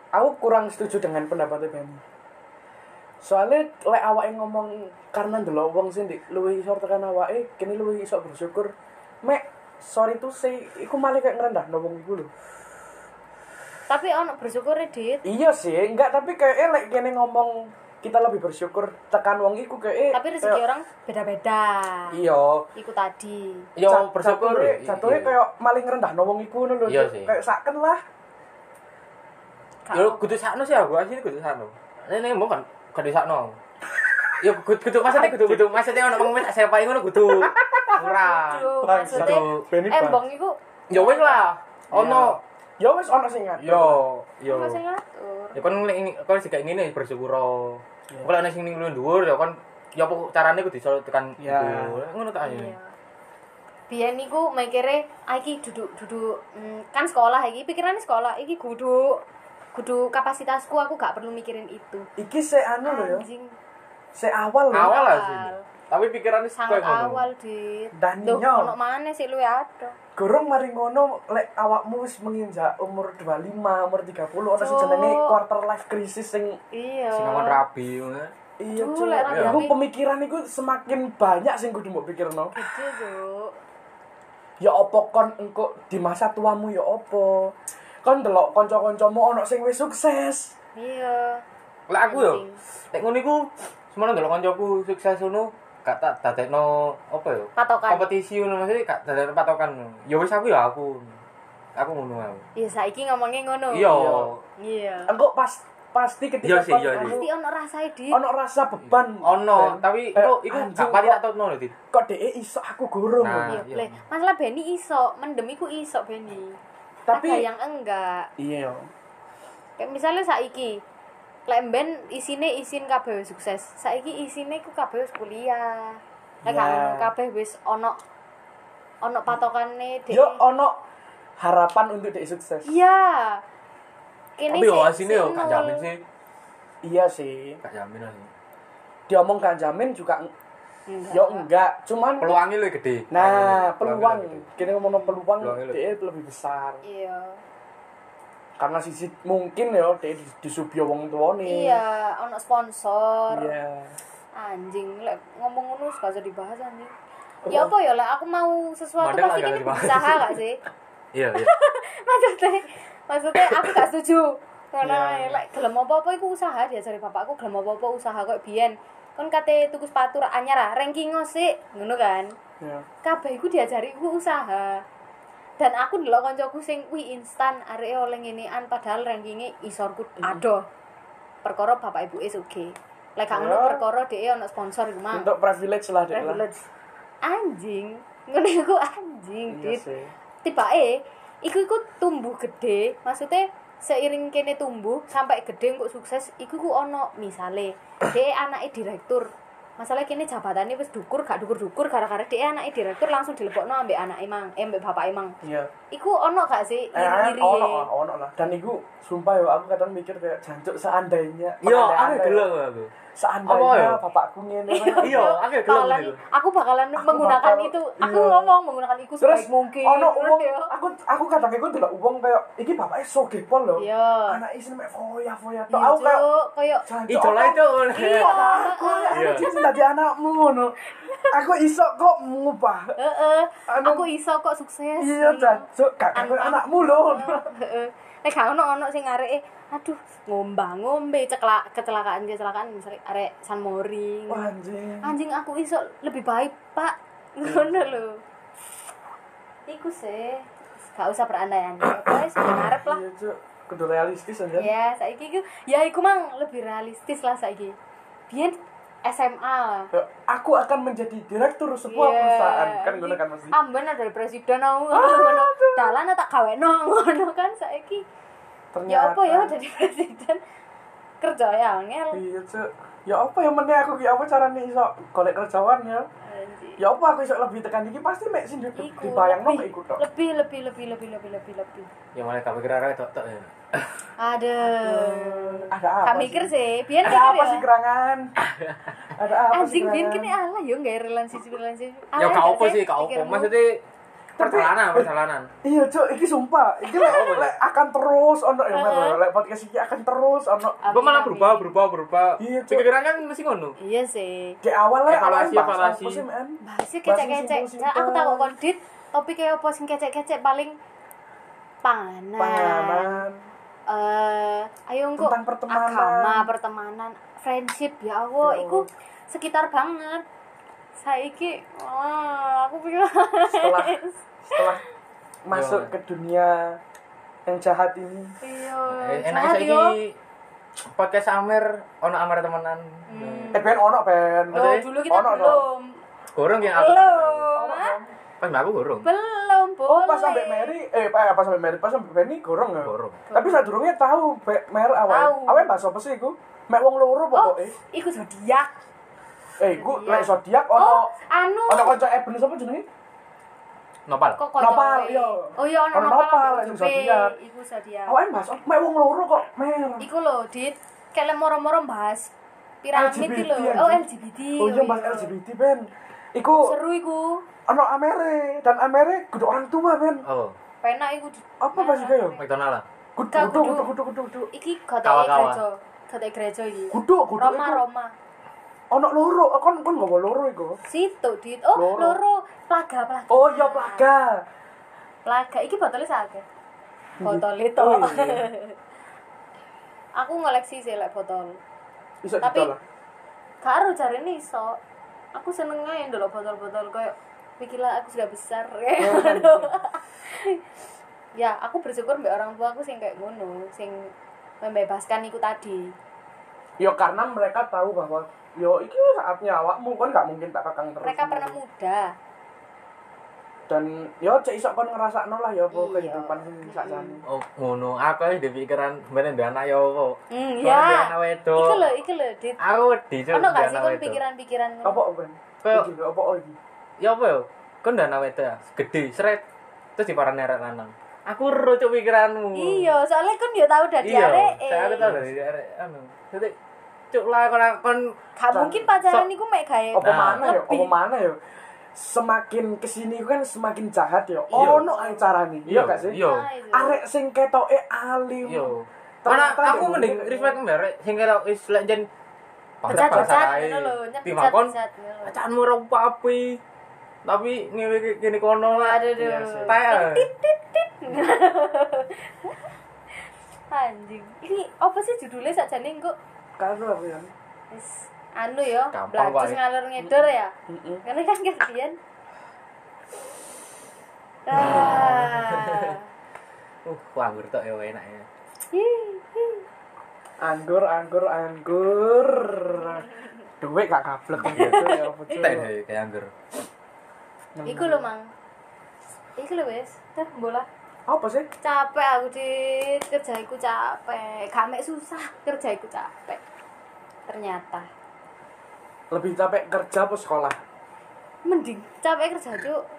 aku kurang setuju dengan pendapatnya Benny soalnya lek awake ngomong karena ndelok wong sing ndik luwih iso tekan awake kene luwih iso bersyukur mek sorry tuh sih iku malah kayak ngerendah wong iku lho tapi ono bersyukur dit iya sih enggak tapi kayak lek kene ngomong kita lebih bersyukur tekan wong iku kayak tapi rezeki orang beda-beda iya iku tadi yo Jat- bersyukur. jatuhnya- i- jatuhnya iya. kayak maling rendah wong iku ngono lho Iya Cuk. sih. kayak saken lah Gak- Yo kudu sakno sih aku asli kudu sakno. Ini mau kan kudu sakno. Yo kudu kudu maksudnya kudu kudu maksudnya ono wong tak sepai ngono kudu. Ora. Aduh, Bangsa. maksudnya Ah, Benny Ya bangsa. embong iku Yo wis lah. Ono. ya wis ono sing ngatur. Yo yo. masih ngatur Ya kon ngene kon sing kayak ngene bersyukur. Kok ana sing ning luwih dhuwur ya kon ya apa carane kudu iso tekan Ya. dhuwur. Ngono ta ya. Iya. Biyen niku mikire "Ah, iki duduk duduk mm, kan sekolah iki pikirannya sekolah iki kudu kudu kapasitasku aku gak perlu mikirin itu. Iki se anu lho ya. Anjing Se awal lho. Awal lah sih. Awal. Tapi pikirannya sangat kayak ngono. awal di Dan Loh, nyo. ono mana sih lu ya aduh. Gorong mari ngono lek awakmu wis menginjak umur 25, umur 30 ono sing Cuk. jenenge quarter life crisis sing Iya. Sing ngomong rabi ngono. iya Duh, cuy. lek ra Iku diambil. pemikiran iku semakin banyak sing kudu mbok pikirno. Gede, Cuk. Ya opo kon engko di masa tuamu ya opo. Kon delok kanca-kancamu ono sing wis sukses. Iya. Lah aku yo. Anjing. Nek ngono iku semono ndelok kancaku sukses ngono gak tak dadekno apa yo? Patokan. Kompetisi ngono maksudnya gak dadekno patokan. Ya wis aku ya aku. Aku ngono aku. Iya saiki ngomongnya ngono. Iya. Oh, Iya. Engko pas pasti ketika Iya sih, kon iya sih. anu, Pasti ono rasane di. ono rasa beban. Ono, tapi Kayak, itu iku anjing, gak pati tak kok- tutno lho, Dit. kok dhek iso aku gorong. Nah. Iya, iya. Ble. Masalah Beni iso, mendem iku iso Beni. Tapi- Ada yang enggak. Iya. Kayak misalnya saiki lek ben isine isin kabeh wis sukses. Saiki isine ku kabeh wis kuliah. Lek gak Ya. ngono kabeh wis ono Hmm. ono patokane dhek. Yo ono harapan untuk dia sukses. Iya. Kene Tapi yo sik- asine yo sik gak nol. jamin sih. Iya sih. Gak jamin sih. Diomong gak jamin juga eng- Enggak. yo enggak, cuman Peluangnya lebih gede. nah, Peluangnya peluang. lebih gede. Iya, Kita ngomong peluang Peluangnya lebih- dia lebih besar. Iya. Karena sisi mungkin ya dia dis- disubyo wong Hmm. tuane. Iya, ono sponsor. Iya. Anjing, lek ngomong ngono suka jadi dibahas anjing. Ya apa ya lek aku mau sesuatu Madel pasti agak kene dibahas. usaha gak [LAUGHS] sih? Iya, iya. maksudnya maksudnya aku gak setuju karena Iya. lek gelem apa-apa iku usaha diajari bapakku gelem apa-apa usaha kok biyen kon kate tuku sepatu ra anyar ah, ranking sik ngono kan Iya. kabeh iku diajari iku usaha dan aku ndelok kancaku sing kuwi instan areke oleh ngenean padahal rankinge isor ku Hmm. adoh. Perkara bapak ibuke sugih. Lek gak Ya. ngono perkara dheke ono sponsor iku mah. Untuk privilege lah dek lah. Privilege. Anjing. Ngono iku anjing, Iya Dit. sih. Tibake iku iku tumbuh gede, maksudnya seiring kene tumbuh sampai gede kok sukses iku ku ono misale dhek anake direktur. Masalah kene jabatannya wis dukur gak dukur-dukur gara-gara dhek anake direktur langsung dilebokno ambek anake mang, eh, ambek bapak emang. Iya. Iku ono gak sih Eh, eh, iri-iri? ono, ono, ono lah. Dan iku sumpah yo aku kadang mikir kayak jancuk seandainya. Iya, aku Andai-andai, gelem aku. Apa yo? Seandainya bapakku ngene. Mas. Iya, aku gelem Bakalan- gitu. Aku bakalan Aku menggunakan bakal- itu. Aku iya. ngomong menggunakan iku Terus sebaik mungkin. Ono Terus wong, ya. aku aku kadang iku delok wong kayak iki bapaknya sogeh pol lho. Iya. Anak isi mek foya-foya tok. Iya, Aku kayak Cuk. Kayak jancuk, Ijo lah apa- itu. Iya. Aku Iya. anak cinta dadi anakmu ngono. Aku iso kok ngubah. Heeh. Anu- eh, Aku iso kok sukses. Iya, jancuk gak Anu- kayak anakmu lho. Heeh. Nek gak ono ono sing areke aduh ngombang ngombe ceklak kecelakaan kecelakaan misalnya arek San Mori. Wah, Anjing. Anjing aku iso lebih baik, Pak. Ngono lho. Iku sih. Gak usah berandai-andai. Pokoknya sudah ngarep lah. Iya, Cuk. Kudu realistis aja. Ya, saiki iku ya iku mang lebih realistis lah saiki. Biyen SMA lah. Ya, Aku akan menjadi direktur sebuah Iya. perusahaan. Kan Ah, ngono kan mesti. Amben ada dari presiden aku ngono. Dalan tak gawekno [LAUGHS] ngono kan saiki. Ternyata. Ya apa ya jadi presiden kerja ya angel. Iya, Cuk. Ya apa yang meneh aku ya apa carane iso golek kerjaan ya? Anjir. Ya apa aku iso lebih tekan iki pasti mek sing di- Iku dibayangno mek lebih, iku tok. lebih lebih lebih lebih lebih lebih lebih. Ya malah tak pikir arek tok tok ya. Ada. Ada apa? Tak mikir sih, biyen Ada mikir apa ya. sih kerangan? [LAUGHS] Ada apa sih Anjing biyen kene ya, kerangan? ala yo gak relansi relansi. Ya gak apa sih, gak apa. Maksudnya perjalanan, perjalanan. Iya, Cuk, iki sumpah. Iki lek [LAUGHS] lek akan terus ono ya, Mer. Heeh. Lek podcast iki akan terus ono. Apa malah berubah, berubah, berubah. Iya, Cuk. Pikiran kan mesti ngono. Iya sih. Di awal lek Evaluasi, awal bahas evaluasi. apa sih, men? Bahasnya kecek-kecek. Bahasnya Nah, aku simpel-simpel. tahu kondit topik kayak apa sing kecek-kecek paling panganan. Panganan. Eh, ayo engko Tentang pertemanan. Agama, pertemanan, friendship ya Allah, Ya Allah. iku sekitar banget. Saiki oh, aku pikir Setelah setelah masuk Yo. ke dunia yang jahat ini. [LAUGHS] Iya. Eh, jahat Enak yo. saiki podcast Amer ono Amer temenan. Hmm. Eh, ben ono, ben. Oh, dulu kita Ono, no? belum. Gorong yang aku. Belum. Ono, ah? no? Pas mbak aku gorong. Belum boleh. Oh, pas sampai Mary, eh pas pas sampai Mary, pas sampai Benny gorong ya. Gorong. Tapi saya durungnya tahu Be- Mer Tahu. awal. Awal bahas apa sih iku? Mek wong loro Oh, pokoke. iku zodiak. Eh, iku Zodiak. lek zodiak Oh, ono anu. ono kanca Eben sapa jenenge? Nopal. kok Nopal, koyo- iya. oh iya ono Ono nopal nopal, ambek yang Jope. zodiak. iku zodiak Awal bahas oh, mek wong loro kok, Mer. iku lho dit kele moro-moro bahas piramid LGBT, iki lho anjing. oh LGBT Oh iya bahas LGBT Ben. Iku seru iku ono Amere dan Amere kudu orang tua Ben. Oh, penak iku di- Apa bahas iku ya? McDonald lah. Kudu Kak, kudu kudu. kudu kudu kudu kudu. iki goteke Kawa-kawa. gereja goteke gereja iki Kudu kudu. Roma iku. Roma Ono loro, Eh, kon kon gak loro iku. situ dit oh Loro. loro plaga plaga Oh iya plaga. plaga iki botolnya sakit botol itu Oh, iya. [LAUGHS] aku ngoleksi sih lek botol Bisa Tapi- ditolak. karo cari nih so aku seneng aja dulu botol-botol kayak pikirlah aku sudah besar Oh, [LAUGHS] ya aku bersyukur mbak orang tua aku sing kayak ngono sing membebaskan iku tadi Yo karena mereka tahu bahwa yo iki saatnya awakmu kan nggak mungkin tak kakang terus. mereka pernah muda Dan yo cek iso kon ngerasa lah yo apa Iya. kehidupan sing sak jane. Oh, ngono. Aku wis di pikiran mbene ndek anak ya apa. hmm Soalnya ya dia anak wedok. iku lho iku lho dit Aku wedi Cuk, ono ndek gak sih anak kon wedok. pikiran-pikiran Apa ben? Kayak- Iki lho, apa oh iki? Ya apa ya? Kon ndek anak wedok ya, gede sret. Terus diparani arek lanang. Aku ro Cuk, pikiranmu. iya soalnya kan dia tahu dari Iya. arek eh, Saya aku tahu dari arek anu. Jadi cuk lah kon kon gak mungkin pacaran So- iku mek gawe Apa Nah. mana yo? Apa Lebih. mana yo? Semakin kesini kan semakin jahat yo. Iya. Ono ae carane. Iya gak sih? Iya. Nah, itu. Arek sing ketoke alim. Iya. Mana Ternyata aku dia mending mungkin- reflect merek sing kira wis lek jen pecat-pecat ngono lho Timang kon nyepecat-pecat ngono lho. pacaranmu ora papi. Tapi ngewe ki- kene kono lah. Aduh, Iya sih. Tayar. anjing ini apa sih judulnya sakjane engko Kan apa ya? Wis, anu ya Gampang belajar wae. ngalur ngidul ya Heeh. karena kan kalian ah Uh, kok anggur tok ya enak ya. Anggur, anggur, anggur. Duit gak [LAUGHS] kablek gitu ya apa cuy. Kita ini kayak anggur. Iku lho, Mang. Iku lho wis, teh bola. Apa sih? Capek aku di kerjaiku capek. Kamek susah, kerjaiku capek. Ternyata Lebih capek kerja apa sekolah? mending capek kerja, Cuk.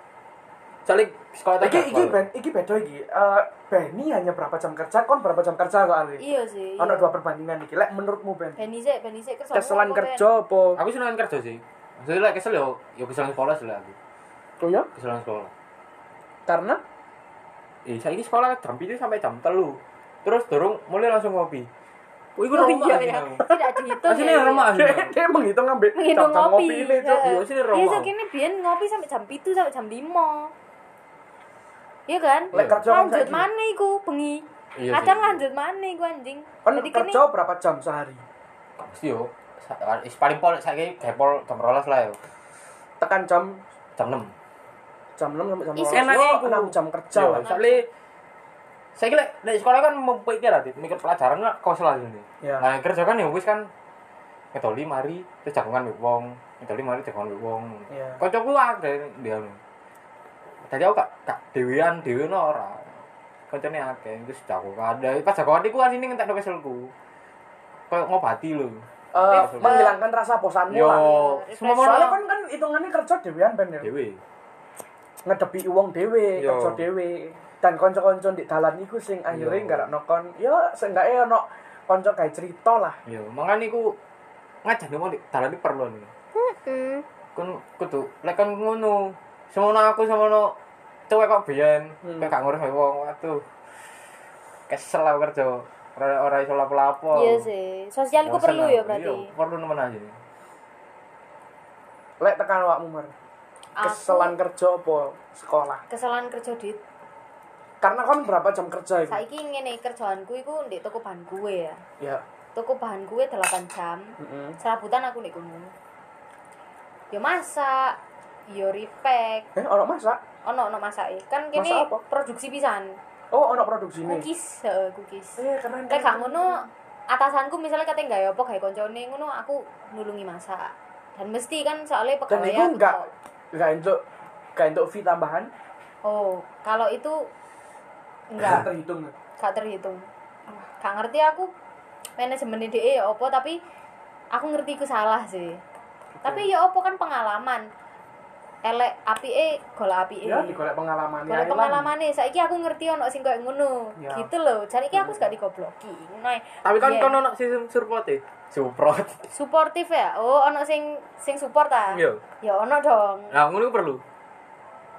Soalnya sekolah tak Iki iki jadwal. ben iki beda iki. Eh Benny hanya berapa jam kerja kon berapa jam kerja soalnya. Iya sih. Ono dua perbandingan iki. Lek menurutmu Ben, Beni sik, beni sik kerja. Apa, keselan Ben? kerja apa? Aku seneng kerja sih. Maksudnya lah kesel yo, yo kesel sekolah sih lah aku. Oh ya, Kesel sekolah. karena Eh, saya ini sekolah jam itu sampai jam telu. Terus dorong mulai langsung ngopi. Oh, iku [LAUGHS] Oh, rumah iya, sih, iya. aku. Tidak dihitung. Aslinya ya, iya. rumah sih. aku. dia menghitung ngambil Menghitung jam-jam ngopi. ini Cuk. Heeh. Iya, sini rumah. Iya, so kini biyen ngopi sampai jam 7 sampai jam 5. Iya kan? Lek Iya. kerja kan lanjut saiki. mana iku bengi. Iya Kadang sih. lanjut mana iku anjing. Kon Jadi kini kerja berapa jam sehari? Pasti yo. Sa- is- Paling pol saya kayak pol jam rolas lah yo. Tekan jam Jam enam. jam 6 sampai jam Is- 12. enaknya Yo, iku. enam jam kerja. Eh, Yo, lah. soalnya saya kira dari sekolah kan memikir hati, mikir pelajaran lah kau selalu ini. Ya. Nah kerja kan ya wis kan ngedoli mari terus jagongan mbek wong, ngedoli mari jagongan mbek wong. Iya. Kocokku akeh dia. Tadi aku gak gak dhewean dhewe no ora. Koncone akeh terus jagongan. Dari pas jagongan iku asine ngentekno keselku. Kayak ngobati lho. Eh, Iya. menghilangkan rasa bosanmu Yo, lah. Iya. semua Soalnya kan mono kan hitungannya kerja Iya. dewean Ben ya. dhewe. Ngedepi uang dewe, Yo. kerja dewe. Dan konco-konco di dalan iku sing akhirnya Yo. nggak nokon. Ya seenggaknya ono konco kayak cerita lah. Yo, mangane iku ngajak ngomong di dalan iki perlu nih. Kon kudu lek kon ngono. Semono aku semono cewek kok biyen, Hmm. kok gak ngurus mbek wong waduh. Kesel aku kerja. Ora ora iso lapo-lapo. Iya sih. Sosial iku Bosen perlu ya aku. berarti. Iya, perlu nemen aja. Lek tekan awakmu Mar. Keselan Aku kerja apa sekolah? kesalahan kerja di Karena kon berapa jam kerja iku? saiki ngene kerjaanku iku ndek toko bahan kue ya. Ya. Toko bahan kue 8 jam. Mm-mm. Serabutan aku ndek kono. Ya masak, ya repack, Eh, ono masak? ono ono masake. Kan kene Masak apa? produksi pisan. Oh, ono produksi ini. Cookies, heeh, cookies. Eh, keren. Kayak gak keren. ngono atasanku misalnya kate gawe apa gawe koncone ngono aku nulungi masak. Dan mesti kan soalnya Dan pegawai itu aku enggak kok. enggak untuk enggak untuk fee tambahan. Oh, kalau itu Enggak enggak, terhitung. gak terhitung. Ah. Gak ngerti aku manajemen DE ya opo tapi aku ngerti ku salah sih. Tapi ya opo kan pengalaman. Elek apike golek apike. Ya, digolek pengalaman Golek pengalamannya, saiki aku ngerti ono sing koyo ngono. Ya. Gitu loh. Jadi iki aku gak digobloki. Ngono ae. Tapi kan Iya. kon ono sistem support e. Support. suportif ya oh ono sing sing support ta Iya. ya ono dong Nah, ngono perlu.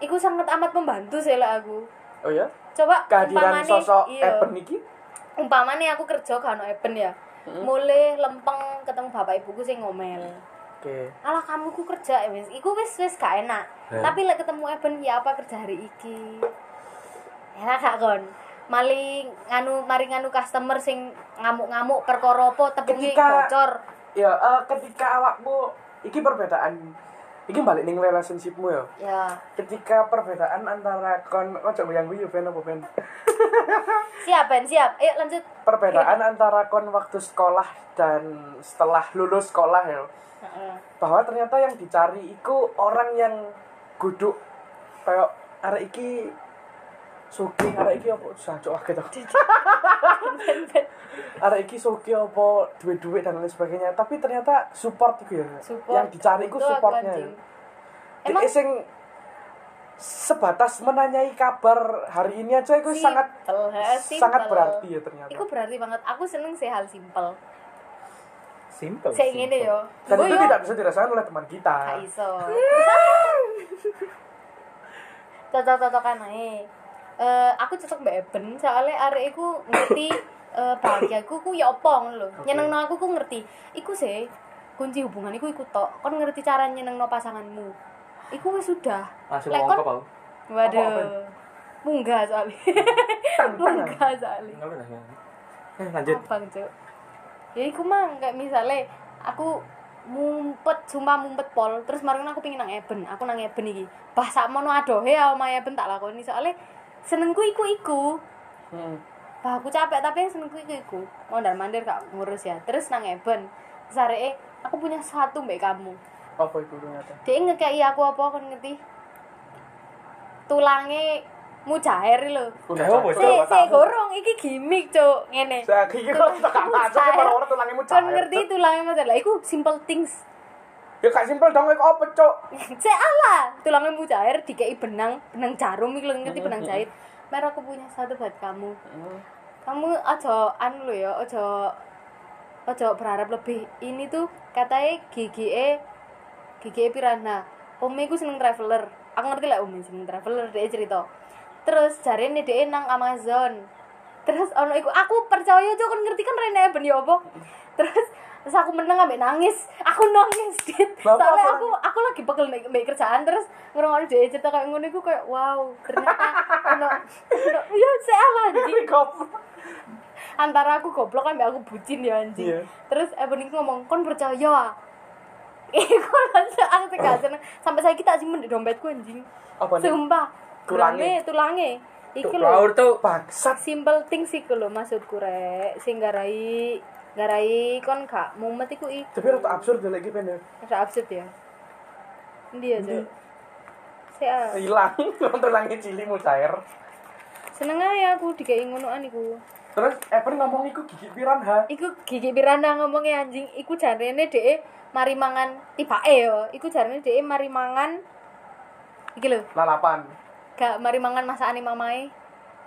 iku sangat amat membantu sih lah aku Oh ya. coba Kehadiran umpamane- sosok iya, Eben iki umpamane aku kerja gak ono Eben ya mulai lempeng ketemu bapak ibuku sing ngomel Oke. alah kamu ku kerja eh, wis iku wis wis gak enak Ya. tapi lek ketemu Eben ya apa kerja hari iki enak gak kon maling nganu mari nganu customer sing ngamuk-ngamuk perkara apa tepungi Ketika- bocor Ya, eh, ketika awakmu iki perbedaan iki balik ning relationshipmu ya. ya Ketika perbedaan antara kon ojo yang guyu ben apa ben. siap Ben siap ayo lanjut Perbedaan antara kon waktu sekolah dan setelah lulus sekolah ya. Heeh. bahwa ternyata yang dicari iku orang yang guduk kayak arek iki suki arek iki apa sancok akeh to arek iki suki apa duit-duit dan lain sebagainya tapi ternyata support iku ya Support. yang dicari iku Betul aku, supportnya anjing. emang Emang- Iya, sing sebatas menanyai kabar hari ini aja itu Simple, sangat ha, sangat simple. berarti ya ternyata Iku berarti banget. Aku seneng sih hal simpel. Simple. Saya ngene yo. dan Gua itu yo tidak bisa dirasakan oleh teman kita gak iso. [LAUGHS] Cocok-cocokan ae. Eh aku cocok Mbak Eben soalnya arek iku ngerti eh bahagiaku ku ya apa ngono lho. Nyenengno aku ku ngerti. Iku sih kunci hubungan iku iku tok. Kon ngerti cara nyenengno pasanganmu. Iku wis sudah. Langsung Lek kon- ngomong aku. Waduh. Apa-apa? Munggah soalnya. Munggah soalnya. Ngeluh dah. Eh, lanjut. Abang cuk. Ya iku mang kayak misalnya aku mumpet sumpah mumpet pol terus marung aku pingin nang Eben, aku nang Eben iki. Bah sakmono adohe ya omahe Eben tak lakoni soalnya senengku iku iku. Hmm. Bah aku capek tapi yang senengku iku iku. Mondar mandir gak ngurus ya. Terus nang Eben, sareke aku punya satu mbek kamu. Apa itu ternyata? Dia ngekei aku apa kon ngerti? Tulangnya mujair lho. Udah Kayak apa, jatuh. Cok? Se, se gorong iki gimmick, Cuk. Ngene. Saya kira kok tak ngaco sih para orang tulangnya muncul. Kon ngerti tulangnya mujair. Lah iku simple things. Ya gak simpel dong kok apa, Cok? [LAUGHS] Cek ala, tulangnya mujair dikei benang, benang jarum iki lho ngerti benang jahit. Mer aku punya satu buat kamu. Kamu aja anu lho ya, aja aja berharap lebih. Ini tuh katanya GGE GGE Pirana. Ome ku seneng traveler. Aku ngerti lah Ome seneng traveler dia cerita. Terus jarene dia nang Amazon. Terus ono iku aku percaya aja kan ngerti kan Rene ben ya apa. Terus terus aku menang ambek nangis. Aku nangis dit. Bapak Soalnya apa aku aku lagi pegel mbek mbek kerjaan terus ngrungokno dia cerita kayak ngono iku kayak wow, ternyata ono ono [LAUGHS] ya salah anjing. Antara aku goblok ambek aku bucin ya anjing. Iya. Terus Ebon iku ngomong, "Kon percaya [LAUGHS] ah?" Iku langsung aku tegak seneng. Sampai saya kita simpen di dompetku anjing. Apa nih? Sumpah. Tulange, Tulange. tulange. Iki lho. Laur tuh Bangsat. Simple things iku lho maksudku rek. Sing garai garai kon gak mumet iku iku. Tapi rada absurd ya lagi pendek. Rada absurd ya. Ndi ya, Hmm. Cuk? ah. Saya Hilang [LAUGHS] tulangnya cili mucair. seneng ae aku dikei ngonoan iku. Terus Evan ngomong iku gigi piranha. Iku gigi piranda ngomongnya anjing, iku jarene dhek mari mangan tibake yo. Iku jarene dhek mari mangan iki lho, Lalapan. gak mari mangan masakane mamae.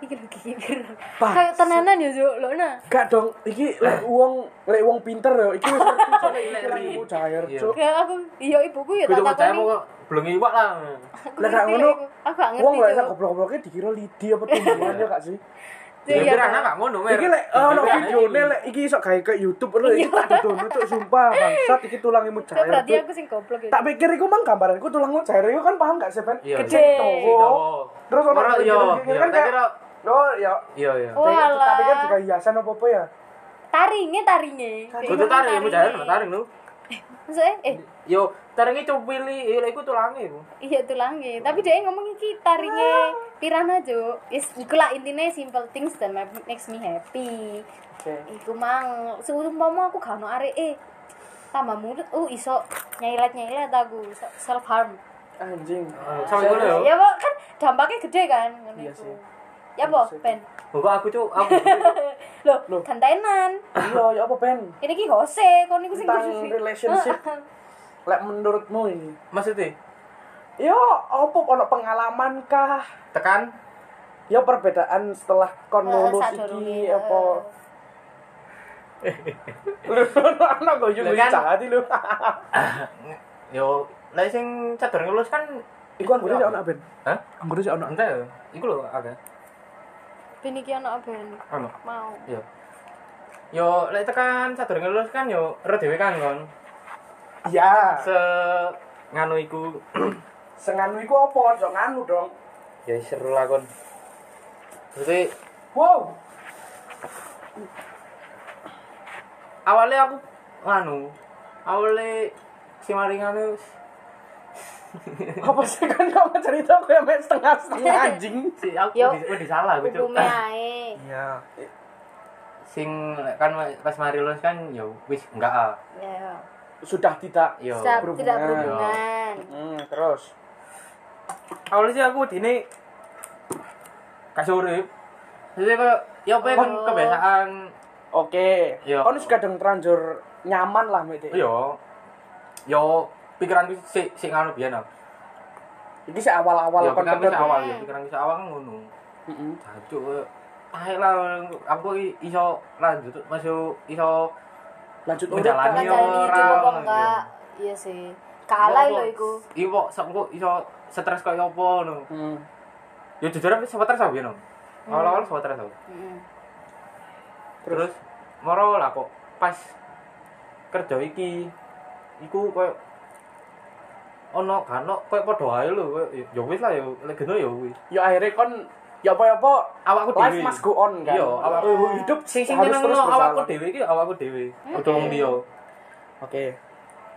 Iki lho gigi piranda. Bangsat. Kayak tenanan yo, Juk. Lho nah. Gak dong, iki Eh. lek wong lek wong pinter ya, iki wis ngerti [LAUGHS] soalnya iki tulangnya mucair, Iya. Cuk. Kayak aku, iya ibuku yo Kudu tak percaya takoni. kok belum iwak lah. Aku Lah gak ngerti ngono. lho iku. Aku gak Wong lek ngerti. sak Cuk. goblok-gobloknya dikira lidi apa tumbuhan ya gak sih? Cuk, Ya iya, kira Cuk. anak ngono, Mer. Iki lek ono Iya, videone iya. lek oh. iki iso gawe ke YouTube lho iki tak didono cuk sumpah bangsat iki tulangnya Cuk, mucair. berarti Cuk. aku sing goblok ya. Tak pikir iku mang gambaranku tulang mucair iku kan paham gak sih, Ben? Iya. Gede. Tuh. Terus ono Ora, tak iya, pikir- iya, kan tak kayak- kira Oh, ya. Iya, iya. Tapi kan Walah. juga hiasan apa-apa ya? Taringe taringe. Dhek Kudu ngomong taring, mu jalan taringe. taring lu. Maksudnya, eh Yo, taringi cupili, iya iku tulange iku. Iya tulangnya, tapi dia ngomong iki Ah. taringnya pirana jo. Yes, iku lah intinya simple things dan ma- makes me happy. Oke. Iku mang, seumpama aku gak ono arek eh tambah mulut, oh iso nyailet nyailet aku self harm. Anjing. Sampai ngono Ya yo. Pak, kan dampaknya gede kan. ngono Iya iku. sih. Ya po, Iya sih. Ben. [LAUGHS] Mbok Oh, aku cuk, aku. Loh, Loh. gantenan. Iya, ya apa, Ben? Ini ki gose, kon niku sing Tentang khusus. [LAUGHS] relationship. Lek menurutmu ini? Maksudnya Ya, apa ono pengalaman kah? tekan Ya perbedaan setelah Eh, kon lulus sadurunge, eh. iki apa? [LAUGHS] Lu anak kok juga Lah kan- jahat lu. yo lek sing cadurunge lulus kan [LAUGHS] Iku anggurnya sik ono, Ben. Hah? Anggurnya sik ono. Entah yo. Iku lho agak. Ben iki ono ben Ono. mau. Yo. Yo lek tekan cadurunge lulus kan yo ero dhewe kan kon. Ya. Se nganu iku [CLEARS THROAT] Senganu iku apa? Ojo nganu dong. ya seru lah kon. Maksudnya Wow. [LAUGHS] awalnya aku nganu awalnya si mari nganu Apa sih kan kamu cerita aku yang main setengah-setengah anjing? si aku Yo. di, di salah aku Cuk. Hukume ae. Iya. sing kan pas mari lulus kan yo wis enggak ah Ya. Sudah tidak. yo Tidak berhubungan. berhubungan. Hmm, terus. awalnya sih aku dini kasih urip jadi kok ya apa ya kan Oh. kebiasaan Oke. Iya. Kon sudah kadang terlanjur nyaman lah mbek dhek. yo yo pikiranku si si nganu biyen ah. Iki sik awal-awal yo kon pikiranku kedut. si Ya, awal Hmm. yo pikiranku si awal kan ngono Heeh. jancuk koyo, tai lah aku i- iso lanjut masuk iso Lanjut Bukan Menjalani. Iya, jalan hidup orang, apa enggak? Iya sih. Kalah lho iku. Iya kok sok kok iso stres kok apa no. Hmm. Ya jujur aku sempat stres aku ya no. Awal-awal sempat stres aku. Heeh. Terus Terus moro lah kok pas kerja iki iku koyo ono kano koyo padha ae lho koyo ya- ya wis lah ya lek geno ya wis. ya akhirnya kon ya apa-apa Awakku life dhewe. must go on kan. Iya, awakku hidup Oh. sing sing harus terus nyenengno awakku berjalan. dhewe iki awakku dhewe. Hmm. Padha wong liya. Oke.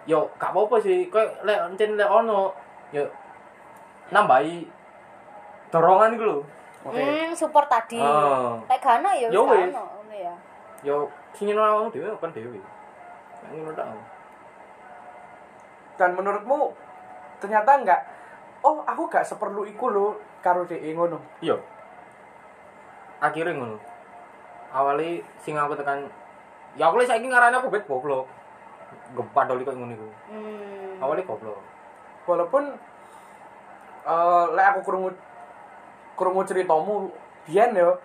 Yo gak apa-apa sih koyo lek encen lek ono yo nambahi dorongan iku lho. Oke. Hmm, support tadi. Oh. Lek gak ono ya wis Ya gak wis. ono, ngono ya. Yo sing ngono awakmu dhewe kan dhewe. Nek ngono tak. Dan menurutmu ternyata enggak oh aku gak seperlu iku lho karo DE ngono. Iya. Akhirnya ngono. Awalnya sing aku tekan ya aku lek saiki ngarani aku bet goblok. Gempa doli kok ngono iku. Hmm. Awalnya goblok. Walaupun eh lek aku krungu krungu ceritamu biyen yo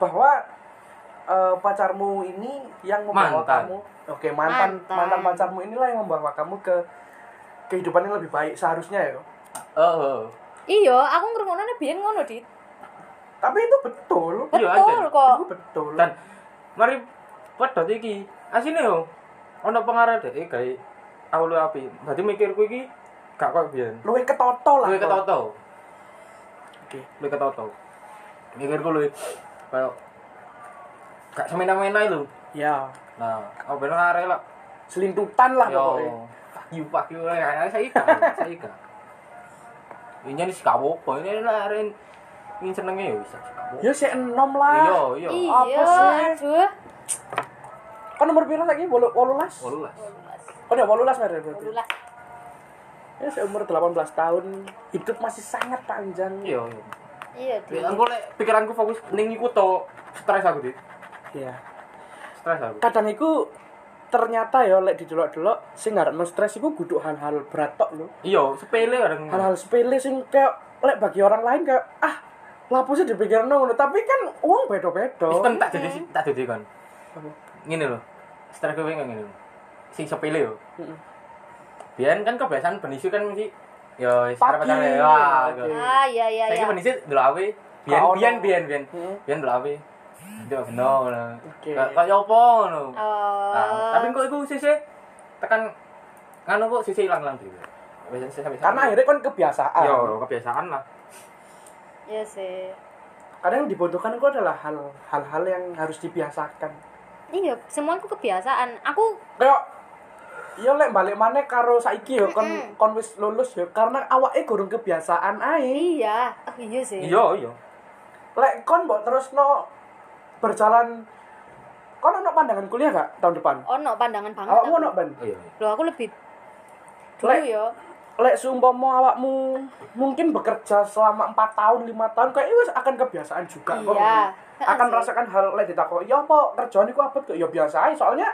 bahwa eh, pacarmu ini yang membawa Mantan. kamu oke mantan, Mantan. mantan pacarmu inilah yang membawa kamu ke kehidupan yang lebih baik seharusnya ya Eh. eh. Iya, aku ngrungokne biyen ngono, Dit. tapi itu betul Iya, Betul Anjen. kok. itu betul Dan mari pedot iki. Asine yo ana pengarah dhek e gawe awul api. Dadi mikirku iki gak koyo biyen. luwe ketoto lah Luwih kok. ketoto. Oke. Luwih ketoto. Mikirku luwih koyo gak semena-mena lho. ya Nah, oh bener arek lah. selintutan lah Yo. pokoknya Yu pak yu arek Eh, saya gak, saya gak. Ini nih gak apa-apa, ini lah arek ini senengnya ya bisa gak apa-apa. ya si enom Iya, lah iya. Iya, sih? aduh. kan nomor piro lagi bolu wolulas Oh, lu lah. oh ya wolulas mereka berarti Dululah. ya seumur 18 tahun hidup masih sangat panjang Iya, iya. Iya, Dit. Pikiranku lek pikiranku fokus ning iku to stres aku, Dit. Iya. Stres aku. kadang iku ternyata ya lek didelok-delok sing ngarepno stres iku kudu hal-hal berat tok lho. Iya, sepele kadang. Hal-hal sepele sing kayak lek bagi orang lain kayak ah lapo sih dipikirno ngono tapi kan uang Sistem beda-beda. tak jadi tak jadi kan. Ngene lho. Stres kowe ngene lho. Sing sepele yo. Heeh. Biyen kan kebiasaan benisi kan mesti yo Pagi. sepele ya. gitu. Ah, iya iya Saiki iya. benisi delawe. Biyen Kaono. biyen biyen biyen. Heeh. Biyen delawe. Itu beno ngono. Hmm. Oke. Kayak opo ngono. Nah, Oh. Ah, tapi kok iku sisih tekan nganu kok sisih ilang-ilang dhewe. Wis- wis- wis- Karena akhirnya kan kebiasaan. Yo, kebiasaan lah. Iya sih. Kadang yang dibutuhkan itu adalah hal- hal-hal yang harus dibiasakan. Iya, semuaku kebiasaan. Aku Kayak Iya lek balik mana karo saiki yo kon kon wis lulus yo karena awake gurung kebiasaan ae. iya. Oh, iya sih. Iya, iya. lek kon mbok terusno berjalan kon ono pandangan kuliah gak tahun depan? Ono pandangan banget. Awakmu aku. ono ban? Iya. Loh, aku lebih dulu Lek- yo. Lek seumpama awakmu mungkin bekerja selama 4 tahun, 5 tahun kayak wis akan kebiasaan juga kok. Iya. Akan Sih. merasakan hal lek ditakoki, "Ya apa kerjaan iku abot kok ya biasa ae." Soalnya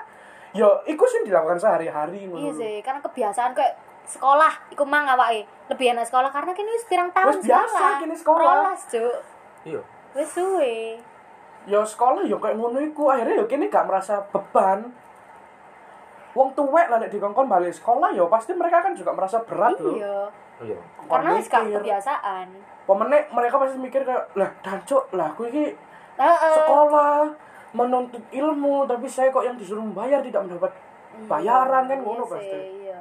ya iku sing dilakukan sehari-hari ngono. Iya sih, karena kebiasaan kayak sekolah iku mang awake. Lebih enak sekolah karena kini wis pirang tahun Wis biasa kini sekolah. Rolas, Cuk. Iya. Wis suwe. Ya sekolah ya kayak ngono iku, akhirnya ya kene gak merasa beban. Wong tuwek lah lek dikongkon balik sekolah ya pasti mereka kan juga merasa berat loh. Iya. Iya. Karena wis gak Mikir. kebiasaan. Pemenek mereka pasti mikir kayak lah dancuk lah Eh. aku ini Heeh. sekolah menuntut ilmu tapi saya kok yang disuruh bayar tidak mendapat bayaran kan Hmm, Iya ngono sih, pasti. Iya.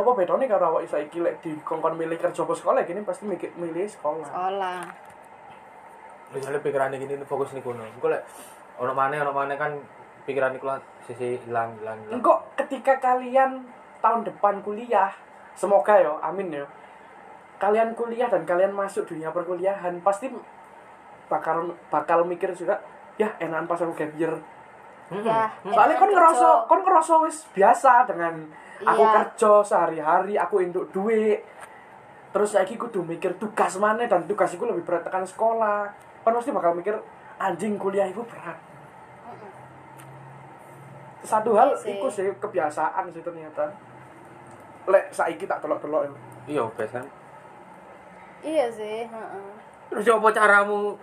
Ya apa bedanya kalau awak saiki lek dikongkon milih kerja apa sekolah gini pasti mikir milih sekolah. Sekolah. Misalnya pikirannya gini ini fokus nih kono. Engko lek ono maneh ono maneh kan pikiran iku lah sisi hilang hilang. hilang. Engko ketika kalian tahun depan kuliah, semoga ya, amin ya. Kalian kuliah dan kalian masuk dunia perkuliahan pasti bakal bakal mikir juga ya enakan pas aku gap year Mm-mm. Ya. Hmm. soalnya enakan kon kerja. ngerasa kon ngerasa wis biasa dengan aku Iya. kerja sehari-hari aku induk duit terus lagi kudu mikir tugas mana dan tugas iku lebih berat tekan sekolah kon pasti bakal mikir anjing kuliah itu berat satu hal Iya sih. iku sih kebiasaan sih ternyata lek saiki tak telok-telok ya. Iya, biasa. Iya sih, heeh. Terus ya apa caramu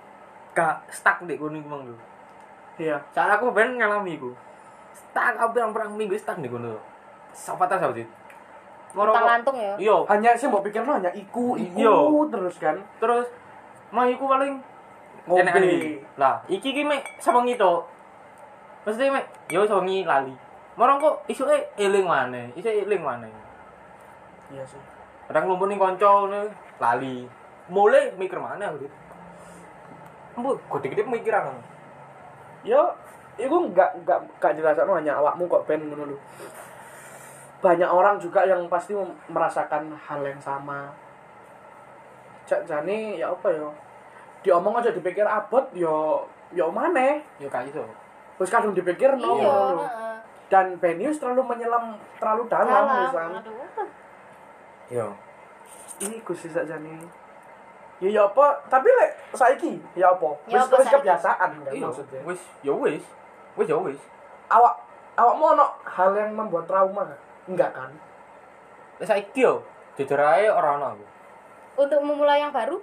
gak stuck di kono iku mang lho. iya Cara aku ben ngalami iku. Stuck aku pirang-pirang minggu stuck di kono. Sapa ta sawit. Utang lantung ya. Iya, hanya sih mbok pikir hanya iku iku Iya. terus kan terus mah iku paling Ngombe. enakan iki. Lah, iki ki mek sewengi to. Mesti mek yo sewengi lali. Marang kok isuke eling maneh, isuke eling maneh. iya sih Kadang lumpuh ning kanca ngono lali. Mulai mikir mana aku. Embu gede-gede pemikiran aku. yo iku nggak nggak nggak dirasakan hanya awakmu kok ben ngono lho. banyak orang juga yang pasti mem- merasakan hal yang sama cak jane ya apa yo diomong aja dipikir abot yo yo maneh Yo gak iso. wis kadung dipikir iya no ngono. heeh. dan Benius terlalu menyelam terlalu dalam Dalam, misal Aduh. Yo. ini kusi saja nih ya ya apa tapi lek saiki ya apa Ya wis apa wis saiki? kebiasaan kan Iya. maksudnya Wis, yo wis. Wis yo wis. awak awak mau ono hal yang membuat trauma enggak kan Lah saiki yo jujur ae ora ono aku. untuk memulai yang baru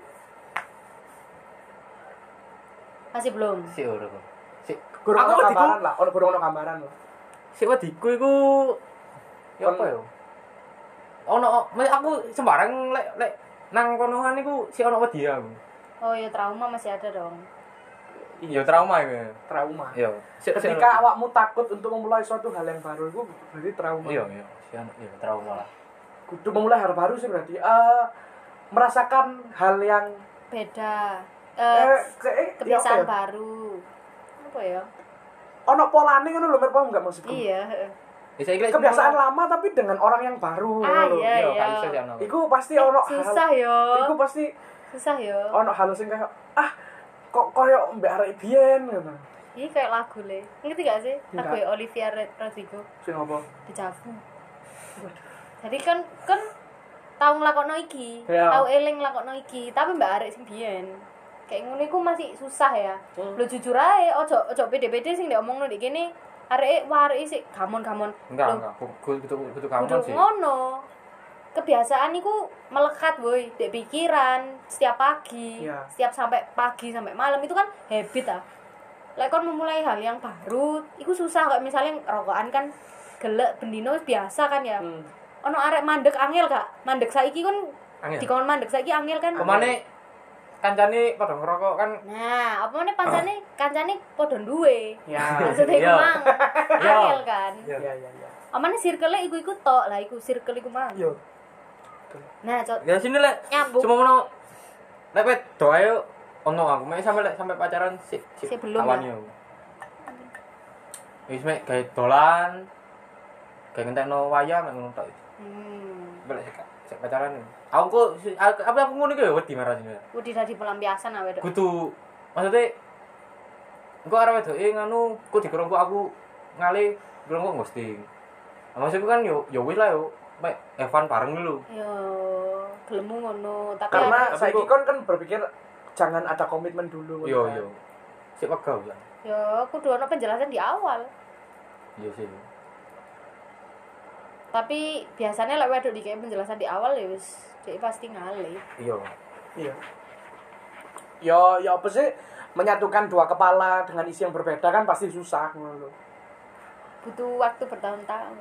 masih belum Sik ora kok. Sik kurang Aku ono wedi, gambaran lah ono kurang ono gambaran lah sik wediku iku yo Kon- apa yo? Ono maksud aku sembarang lek lek nang konohan iku sik ono wedi aku. oh ya trauma masih ada dong Yo trauma iku. trauma Yo. Sik sik ketika ono. awakmu takut untuk memulai suatu hal yang baru itu berarti trauma Iya, iya. Sik ono yo trauma lah. kudu memulai hal baru sih berarti Eh, merasakan hal yang beda eh, Eh, kayak ya apa kebiasaan ya? baru apa ya ono polane ngono lho merpom enggak maksudku iya heeh. Ya saiki lek kebiasaan semono- lama tapi dengan orang yang baru ah ngono lho. iya Yo iya gak iso sik ono. aku. Iku pasti ono susah hal yo Iku Oh. pasti susah yo ono hal sing kayak ah kok koyo mbak arek biyen ngono. ini kayak lagu le ngerti gak sih lagu Enggak. ya Olivia Rod- Rodrigo Sing apa? Dejavu jadi kan kan tau nglakokno iki Iya. tau eling nglakokno iki tapi mbak arek sing biyen kayak ngono iku masih susah ya Hmm. Lho jujur ae ojo ojo pede-pede sing diomongno di kene arek wah arek sik gamon-gamon Enggak, Lho, enggak. Kudu kudu kudu Kudu kamu sih. ngono. Kebiasaan iku melekat, boy, di pikiran setiap pagi, Iya. setiap sampai pagi sampai malam itu kan habit ah. Lek kon memulai hal yang baru, iku susah kok misalnya rokokan kan gelek bendino biasa kan ya. Hmm. Ono arek mandek angel gak? Mandek saiki kan dikon mandek saiki angel kan. Kemane kancane padha ngerokok kan Nah, apa meneh pancane kancane padha duwe. Ya. [LAUGHS] Maksudnya iku Ah. mang Iya. [LAUGHS] Iya. angel kan. Iya. Ya ya ya. Amane circle iku iku tok lah iku circle iku mang. Yo. Nah, cok Ya sini lek. Nyambung. Cuma ngono. Lek wet doa yo ono aku mek sampe lek sampe pacaran sik Sik belum kawan yo. Wis mek gawe dolan. Gawe ngentekno wayang mek ngono tok. Hmm. Sampe lek sik- sik pacaran. Aku kok si- aku apa aku ngono iki yo wedi marah sini. Udah dadi pelampiasan awe dok. Kudu maksudnya engko arep wedoke nganu kok dikerongkok aku ngale kerongkok ghosting. Nah, Maksudku kan yo yo wis lah yo mek Evan bareng dulu. Yo, gelemu ngono. Tapi Karena Tapi saiki kok- kon kan berpikir jangan ada komitmen dulu. Yo kan. yo. Sik pegel ya. yo kudu ono penjelasan di awal. Iya sih. Tapi biasanya lek wedok dikei penjelasan di awal ya wis dia pasti ngalih. Iya. Iya. Yo yo apa sih menyatukan dua kepala dengan isi yang berbeda kan pasti susah ngono lho. Butuh waktu bertahun-tahun.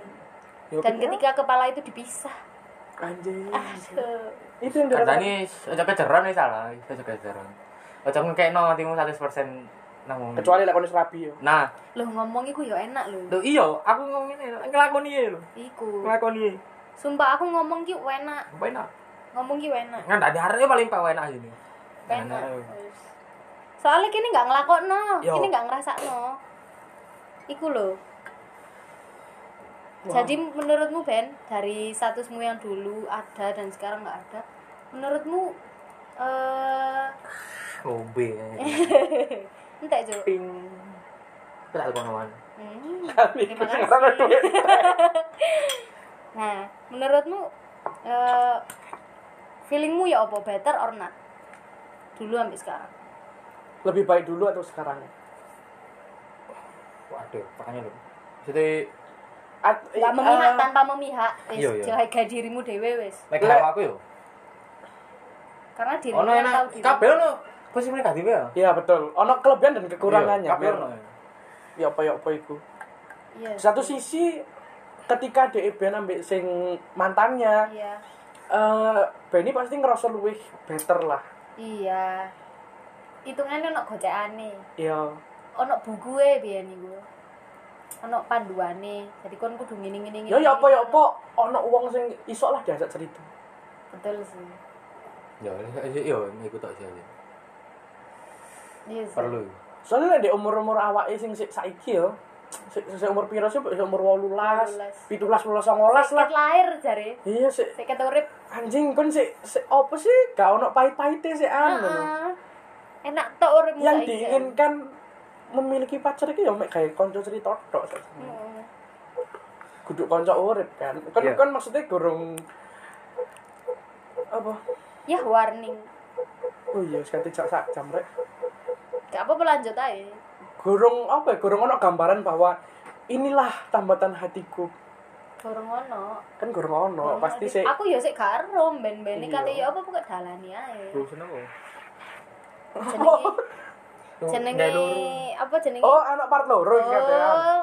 Yo, Dan bener. ketika Ah. kepala itu dipisah. anjing. Aduh. Itu yang dirasakan. Kancane aja kejeran wis salah, aja kejeran. Aja ngekekno hatimu 100% nang ngono. Kecuali lek kon wis rabi yo. Nah, Loh ngomong iku yo enak lho. lho iya, aku ngomong ngene, nglakoni iki lho. Iku. Nglakoni iki. Sumpah aku ngomong ki enak. Apa enak? Ngomong ki enak. Ngandani arek paling pawen aja ini. Enak. Enak. Wis. Soalnya kini nggak ngelakokno, Yo. kini nggak ngerasakno. Iku lho. Jadi menurutmu Ben dari statusmu yang dulu ada dan sekarang nggak ada, menurutmu eh [LAUGHS] Ngombe. entek Jo. Ping. Kita tak kawan. Hmm. Terima kasih. Karena duit. Nah, menurutmu eh feelingmu ya apa better or not? Dulu sampai sekarang. Lebih baik dulu atau sekarang? Waduh, makanya lho. Jadi At- Gak eh, memihak eh, tanpa memihak, wis Iya, iya. jaga dirimu dewe wis. lek Lek- gawe aku yo. Karena dirimu Ono yang tahu enak diri. kabeh ono positif negatif ya. Iya betul. Ono kelebihan dan kekurangannya. Iya, Kabeh ono. Ya apa ya apa iku. Iya. Di Satu sisi ketika DEB ambek sing mantannya, Iya. eh Benny pasti ngerasa luwih better lah. Iya. Hitungannya ono gocekane. Iya. ono bukuwe biyen niku. Ono panduane. Jadi kon kudu ngini-ngini. Ya ya apa ya apa ono wong sing iso lah diajak cerita. Betul sih. Ya, iya, iku tok sih. Iya sih. Perlu. Soalnya di umur-umur awake sing sik saiki ya. Sik sik umur piro sih? Sik umur 18, 17, 18, 19 lah. Seket lahir jare. Iya sik Seket urip. anjing kon sik sik apa sih? Gak ono pahit-pahite sik an. Heeh. Ah, Iya, enak tok uripmu yang saiki. diinginkan memiliki pacar iki ya mek gawe kanca cerita tok. Heeh. Kudu kanca urip kan. Kan Iya. kan maksudnya gorong apa? Yah warning. Oh iya, sekate jak sak jam rek. Gak apa-apa lanjut aja. Gorong apa? ya? Gorong ono gambaran bahwa inilah tambatan hatiku. Gorong ono. Kan gorong ono, pasti sih. [LAUGHS] Aku ya sik karo ben-ben iki Iya. kate ya apa kok dalani ae. Urusan apa? Jenenge Tuh, jenenge nggak lurus. apa jenenge? Oh, anak part loro iki kabehan. Oh,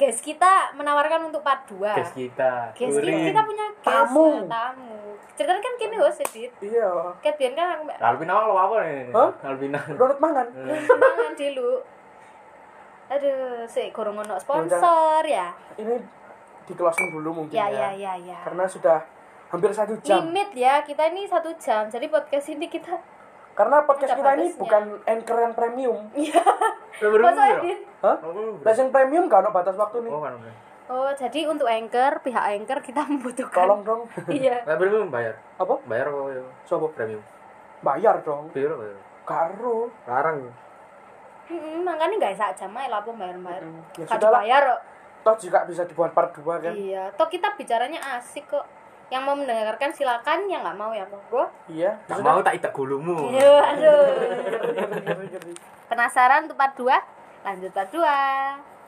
Guys, kita menawarkan untuk part 2. Guys kita. Guys, touring. kita, kita punya guest Tamu. ya, tamu. Ceritanya kan kini wes sedit. Iya. Kat biyen kan aku mbak- Alvin awal apa nih? Hah? Alvin. Donut mangan. Hmm. ya, mangan dulu. Aduh, sik gorong ono sponsor ya. Ini di closing dulu mungkin Ya ya. ya ya ya. Karena sudah hampir satu jam. Limit ya, kita ini satu jam. Jadi podcast ini kita Karena podcast Ada kita ini batasnya. Iya. bukan anchor yang premium. Masa edit? Hah? Nah, yang premium gak ada batas waktu nih. Oh kan. oke. Oh, jadi untuk anchor, pihak anchor kita [LAUGHS] membutuhkan. Tolong dong. Iya. Nah, belum bayar. Apa? Bayar apa ya? Sopo? Premium. Bayar dong. Biar bayar. Karo. Larang. Mm-mm, makanya nggak sak jam aja lah, apa bayar-bayar. Ya Gak sudah lah. dibayar kok. Toh juga bisa dibuat part 2 kan. Iya. Toh kita bicaranya asik kok. Yang mau mendengarkan silakan, yang nggak mau ya monggo. Iya, Iya. Tak mau tak idak Aduh, gulumu. iya, aduh. Penasaran tuh part 2? Lanjut part 2.